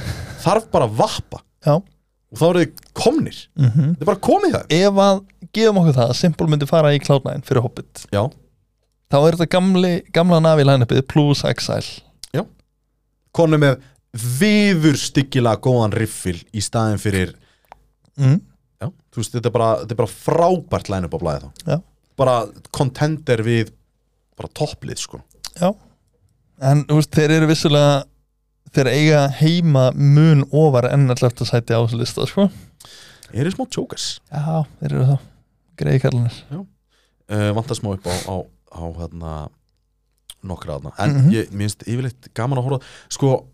B: þarf bara að vappa
C: já,
B: og þá eru þið komnir,
C: mhm
B: þetta er bara komið það
C: ef að, gefum okkur það að Simple myndi fara í Cloud9 fyrir Hobbit
B: já,
C: þá er þetta gamli, gamla navi line-upið plus Exile
B: konu með viður styggilega góðan riffil í staðin fyrir
C: mm.
B: já, þú veist, þetta er bara, þetta er bara frábært line-up á blæði þá
C: Já.
B: bara contender við bara topplið sko
C: En þú veist, þeir eru vissulega þeir eiga heima mun ofar enn að lefta sæti á þessu lista sko.
B: er smá tjókers
C: Já, þeir eru það greiði kallanir
B: uh, vantar smá upp á, á, á hérna, nokkra þarna en
C: Mhm.
B: ég minnst yfirleitt gaman að horfa sko,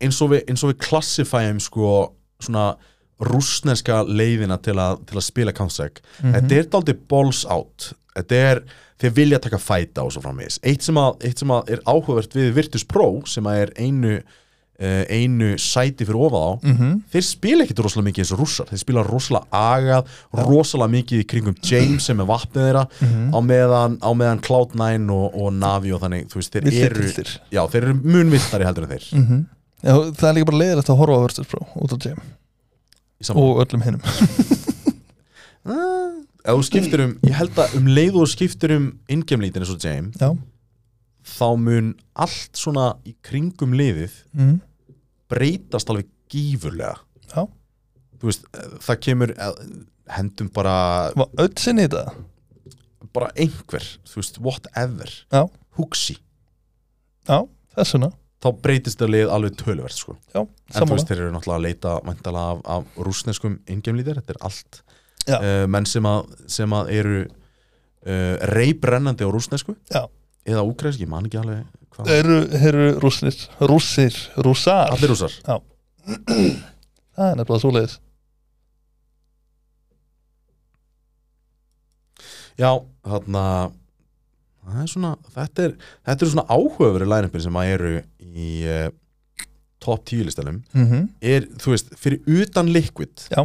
B: eins og við, eins og við klassifæum sko, svona rúsneska leiðina til að, til að spila Counter-Strike þetta er daldið balls out þetta er, þeir vilja taka fæta og svo framvegis, eitt sem að, eitt sem að er áhugavert við Virtus Pro sem að er einu uh, einu sæti fyrir ofað á,
C: Mhm.
B: þeir spila ekkit rosalega mikið eins og rússar, þeir spila rosalega agað rosalega mikið í kringum James sem er vapnið þeirra,
C: Mhm.
B: á meðan á meðan Cloud9 og, og Navi og þannig, þú veist, þeir
C: Villir
B: eru
C: piltir.
B: já, þeir eru munvilltari heldur en þeir
C: mm -hmm. Já, það er líka bara leiðilegt að horfa á Versus Pro út á Jam
B: í saman,
C: og öllum hinnum
B: ef þú skiptir um, ég held að um leið og þú skiptir um ingemlítin eins og James
C: Já,
B: þá mun allt svona í kringum liðið
C: mm.
B: breytast alveg gífurlega
C: Já.
B: þú veist, eh, það kemur eh, hendum bara,
C: var öll sinni í þetta
B: bara einhver þú veist, whatever
C: Já.
B: hugsi,
C: Já, þessuna
B: þá breytist það lið alveg töluvert sko.
C: já,
B: en þú
C: sammála
B: veist, þeir eru náttúrulega að leita mæntalega af, af rúsneskum ingemlítir, þetta er allt
C: Já.
B: uh, menn sem að, sem að eru uh, reybrennandi á rúsnesku
C: Já. Eh,
B: eða úkræsk, ég man ekki alveg hvað
C: Þeir eru, þeir eru rússir, rússir, rússar
B: allir rússar
C: Það er nefnilega svoleiðis
B: Já, þarna það er svona, þetta er, þetta er svona áhugaveru lænupin sem að eru í uh, top 10 listanum
C: mm
B: er, þú veist, fyrir utan liquid
C: Já.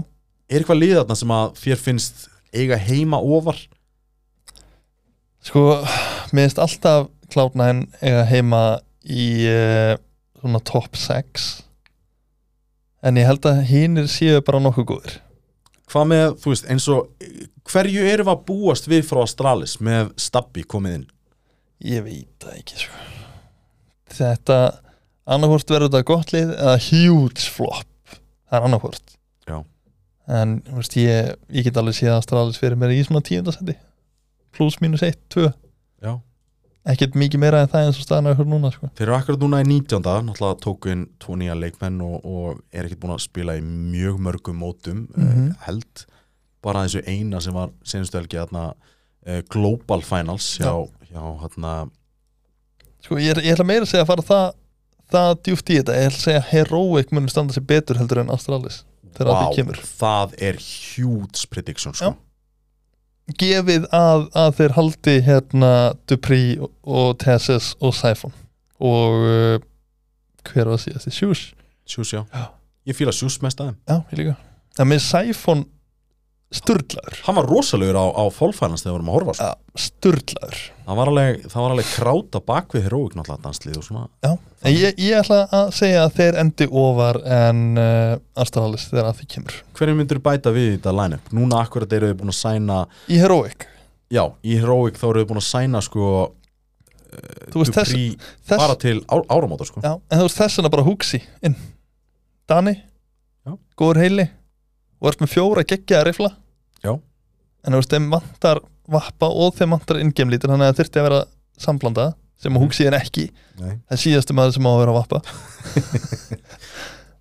B: er eitthvað lið þarna sem að þér finnst eiga heima ofar
C: Sko, mér finnst alltaf Cloud9 eiga heima í uh, svona top 6 en ég held að hinnir séu bara nokkuð góðir
B: hvað með, þú veist, eins og eh, hverju erum við að búast við frá Astralis með Stabbi komið inn
C: Ég veit það ekki sko. Þetta annarkvort verður þetta gott lið eða huge flop það er annarkvort
B: Já.
C: En þú veist, ég, ég get alveg séð að Astralis fyrir mér í svona tíundasendi plus minus 1, 2
B: Já.
C: Ekkert mikið meira en það eins og staðan aukur núna sko.
B: þeir eru akkurat núna í 19. náttúrulega tóku inn tvo nýja leikmenn og, og er ekkert búin að spila í mjög mörgum mótum mm
C: Mhm.
B: held bara þessu eina sem var senstu helgi þarna uh, Global Finals hjá, hjá hérna,
C: Sko, ég, er- ég ætla meira að segja að fara það það djúft í þetta, ég ætla að segja að Heroic munum standa sér betur heldur en Astralis þegar wow.
B: Vá,
C: það kemur.
B: það er huge prediction sko.
C: Já. Gefið að, að þeir haldi hérna Dupree og- og Tessis og Siphon og uh, hver var síðast í Sjús?
B: Sjús, já.
C: Já.
B: Ég fýla Sjús mest aðeim.
C: Já, ég líka. Það með Siphon sturglaður,
B: Hann var rosalegur á, á fólfænans þegar við vorum að horfa. Sko.
C: ja, sturglaður.
B: Það, var alveg, það var alveg kráta bakvið heroík náttúrulega danslið og svona.
C: En ég, ég ætla að segja að þeir endi ofar en uh, Astralis þegar að því kemur.
B: Hverju myndur bæta við í þetta line-up? Núna akkurat eru við búin að sæna,
C: Í Heroic,
B: já, í heroík þá eru við búin að sæna sko
C: þú veist þess,
B: Dupri
C: þess
B: bara til á, áramóta sko.
C: Já, en þú veist þess vegna bara húksi inn Dani
B: Já.
C: Góður heili og ert með fjóra geggjaða rifla
B: Já.
C: En þú veist þeim vantar vappa og þeim vantar ingemlítur þannig að það þurfti að vera samblanda sem að húksi er ekki
B: Nei.
C: það er síðastu maður sem á að vera vappa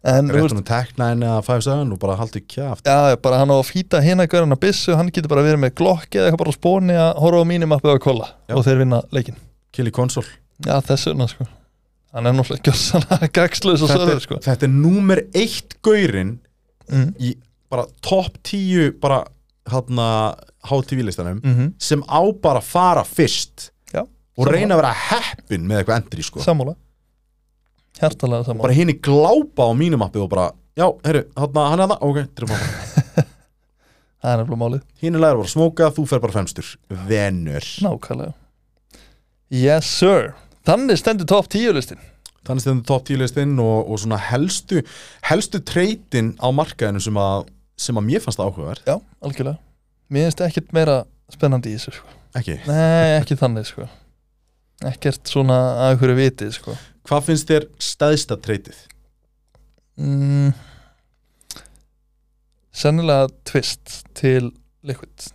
C: En þú veist
B: Réttunum teknaðin eða 5-7 og bara haldið kjaft.
C: Já, bara hann á að fýta hérna að hann að byssu, hann getur bara verið með glokki eða eitthvað bara á spóni að horfa á mínumappi og að kolla
B: Já.
C: og þeir vinna leikin
B: Kili konsol.
C: Já, þess vegna sko Hann er náttúrulega gjössanlega gagslaus og
B: Þetta,
C: söður
B: er-
C: sko
B: þetta er númer eitt gaurinn
C: mm.
B: í bara topp 10 bara hérna HTV-listanum
C: Mm
B: sem á bara að fara fyrst
C: Já,
B: og reyna að vera heppin með eitthvað endri sko.
C: sammála hjartalega sammála
B: bara henni glápa á mínumappið og bara já, herru, þarna, hann er það, ok, drifum hann
C: það er nefnilega málið,
B: henni læra bara að smóka, þú fer bara fremstur venur,
C: nákvæmlega yes sir þannig stendur top 10 listin
B: þannig stendur top 10 listinn og, og svona helstu helstu treytin á markaðinu sem að sem að mér fannst áhugaverð,
C: já, algjörlega, mér finnst ekkert meira spennandi í þessu sko,
B: ekki
C: nei, ekki þannig sko ekkert svona að hverju viti sko
B: hvað finnst þér stæðsta treytið?
C: mm. sennilega twist til liquid,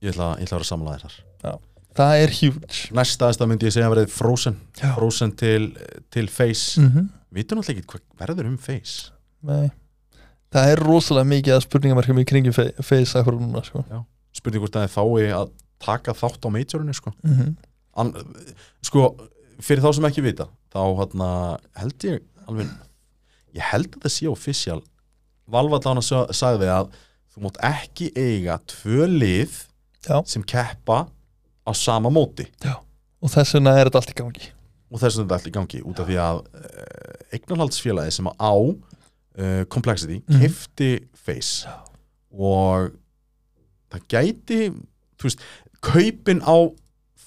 B: Ég ætla, ég ætla að vera samanlega þar
C: það er huge
B: næst stæðsta myndi ég segja að verið Frozen
C: Já.
B: Frozen til, til Face mm.
C: mhm
B: vitum náttúrulega ekki hvað verður um Face
C: nei Það er rosalega mikið að spurningamarkum í kringum fe- face akkur núna sko.
B: spurning hvort að þið fái að taka þátt á majorinu sko.
C: mm
B: An, sko, fyrir þá sem ekki vita þá hérna, held ég alveg, ég held að það sé official Valvallána sagði að þú mátt ekki eiga tvö lið
C: Já.
B: sem keppa á sama móti
C: og þess vegna er þetta allt í gangi
B: og þess að þetta er allt í gangi út af því að uh, eignarhaldsfélagi sem á uh, Complexity
C: Mhm.
B: mm. kefti Face
C: Já.
B: og það gæti þú veist, kaupin á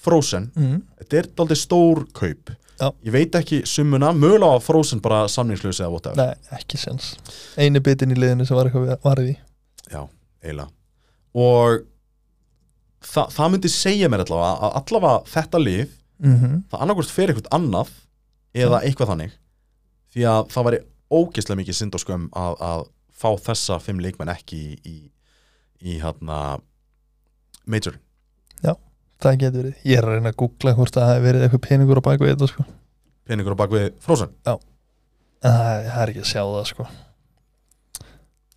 B: Frozen,
C: mm.
B: þetta er daldið stór kaup
C: Já.
B: ég veit ekki summuna, mögulega að Frozen bara samningslösi eða whatever,
C: Nei, ekki sens Einu bitin í liðinu sem var eitthvað varði
B: eiginlega og þa það myndi segja mér allavega að allavega þetta lið
C: mm -hmm.
B: það annarkvort fer eitthvað annað eða eitthvað þannig því að það væri ógeðslega mikið synd og skömm að, að fá þessa fimm leikmenn ekki í, í, í hérna major
C: Það getur verið Ég er að reyna að googla hvort að það hafi verið eitthvað peningur á baku þetta sko
B: peningur á bakvið Frozen
C: En það, það er ekki að sjá það sko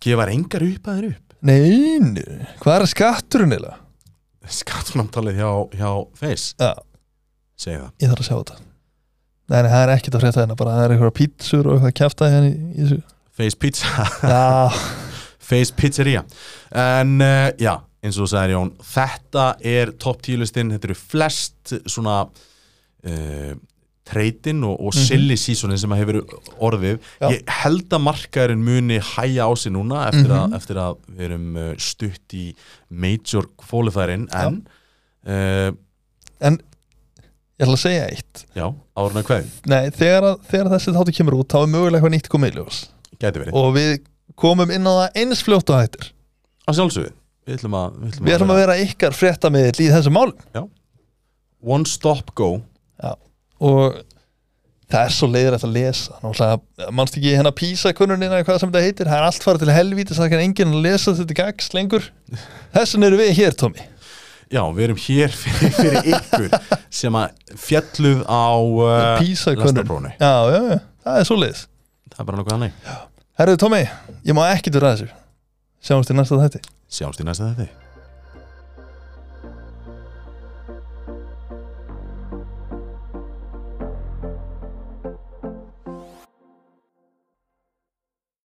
B: gefar engar upp að þeir upp
C: Nei, nei, hvað er skatturinn eiginlega?
B: skattunamtalið hjá, hjá Face
C: Já,
B: segja það
C: ég þarf að sjá þetta Nei, nei, það er ekkert að frétta hérna bara það er einhverja pítsur og eitthvað að kjæfta hérna í, í þessu
B: Face Pizza,
C: Já,
B: Face Pizzeria en uh, já, eins og þú sagðir Jón þetta er topp tílistin þetta eru flest svona uh, treytin og, og silly seasonin sem að hefur orðið
C: Já.
B: ég held að markaðurinn muni hæja á sig núna eftir, að, eftir að við erum eh, stutt í major qualifierin en já, uh,
C: en ég ætla að segja eitt
B: já árna hvað,
C: Nei, þegar, að, þegar þessi þáttu kemur út þá er mögulega eitthvað nýtt komið í ljós
B: gæti verið
C: og við komum inn á það eins fljótt og hættir
B: að sjálfsögðu, við ætlum að við ætlum
C: Við ætlum að
B: vera
C: vera ykkar fréttamiðl í þessum málum
B: one stop go
C: og það er svo leiðir að lesa Náttúrulega, mannst ekki hérna písa kunnunina hvað sem þetta heitir, það er allt farið til helvítis það kann enginn að lesa þetta gags lengur Þessan eru við hér, Tommy
B: Já, við erum hér fyrir, fyrir ykkur sem að fjalluð á uh,
C: Písa kunnun
B: lestaprófinu.
C: Já, já, já, það er svo leiðis
B: Það er bara nokkuð hannig
C: Herðu, Tommy, ég má ekkert vera að þessu Sjáumst í næsta þætti
B: Sjáumst í næsta þetta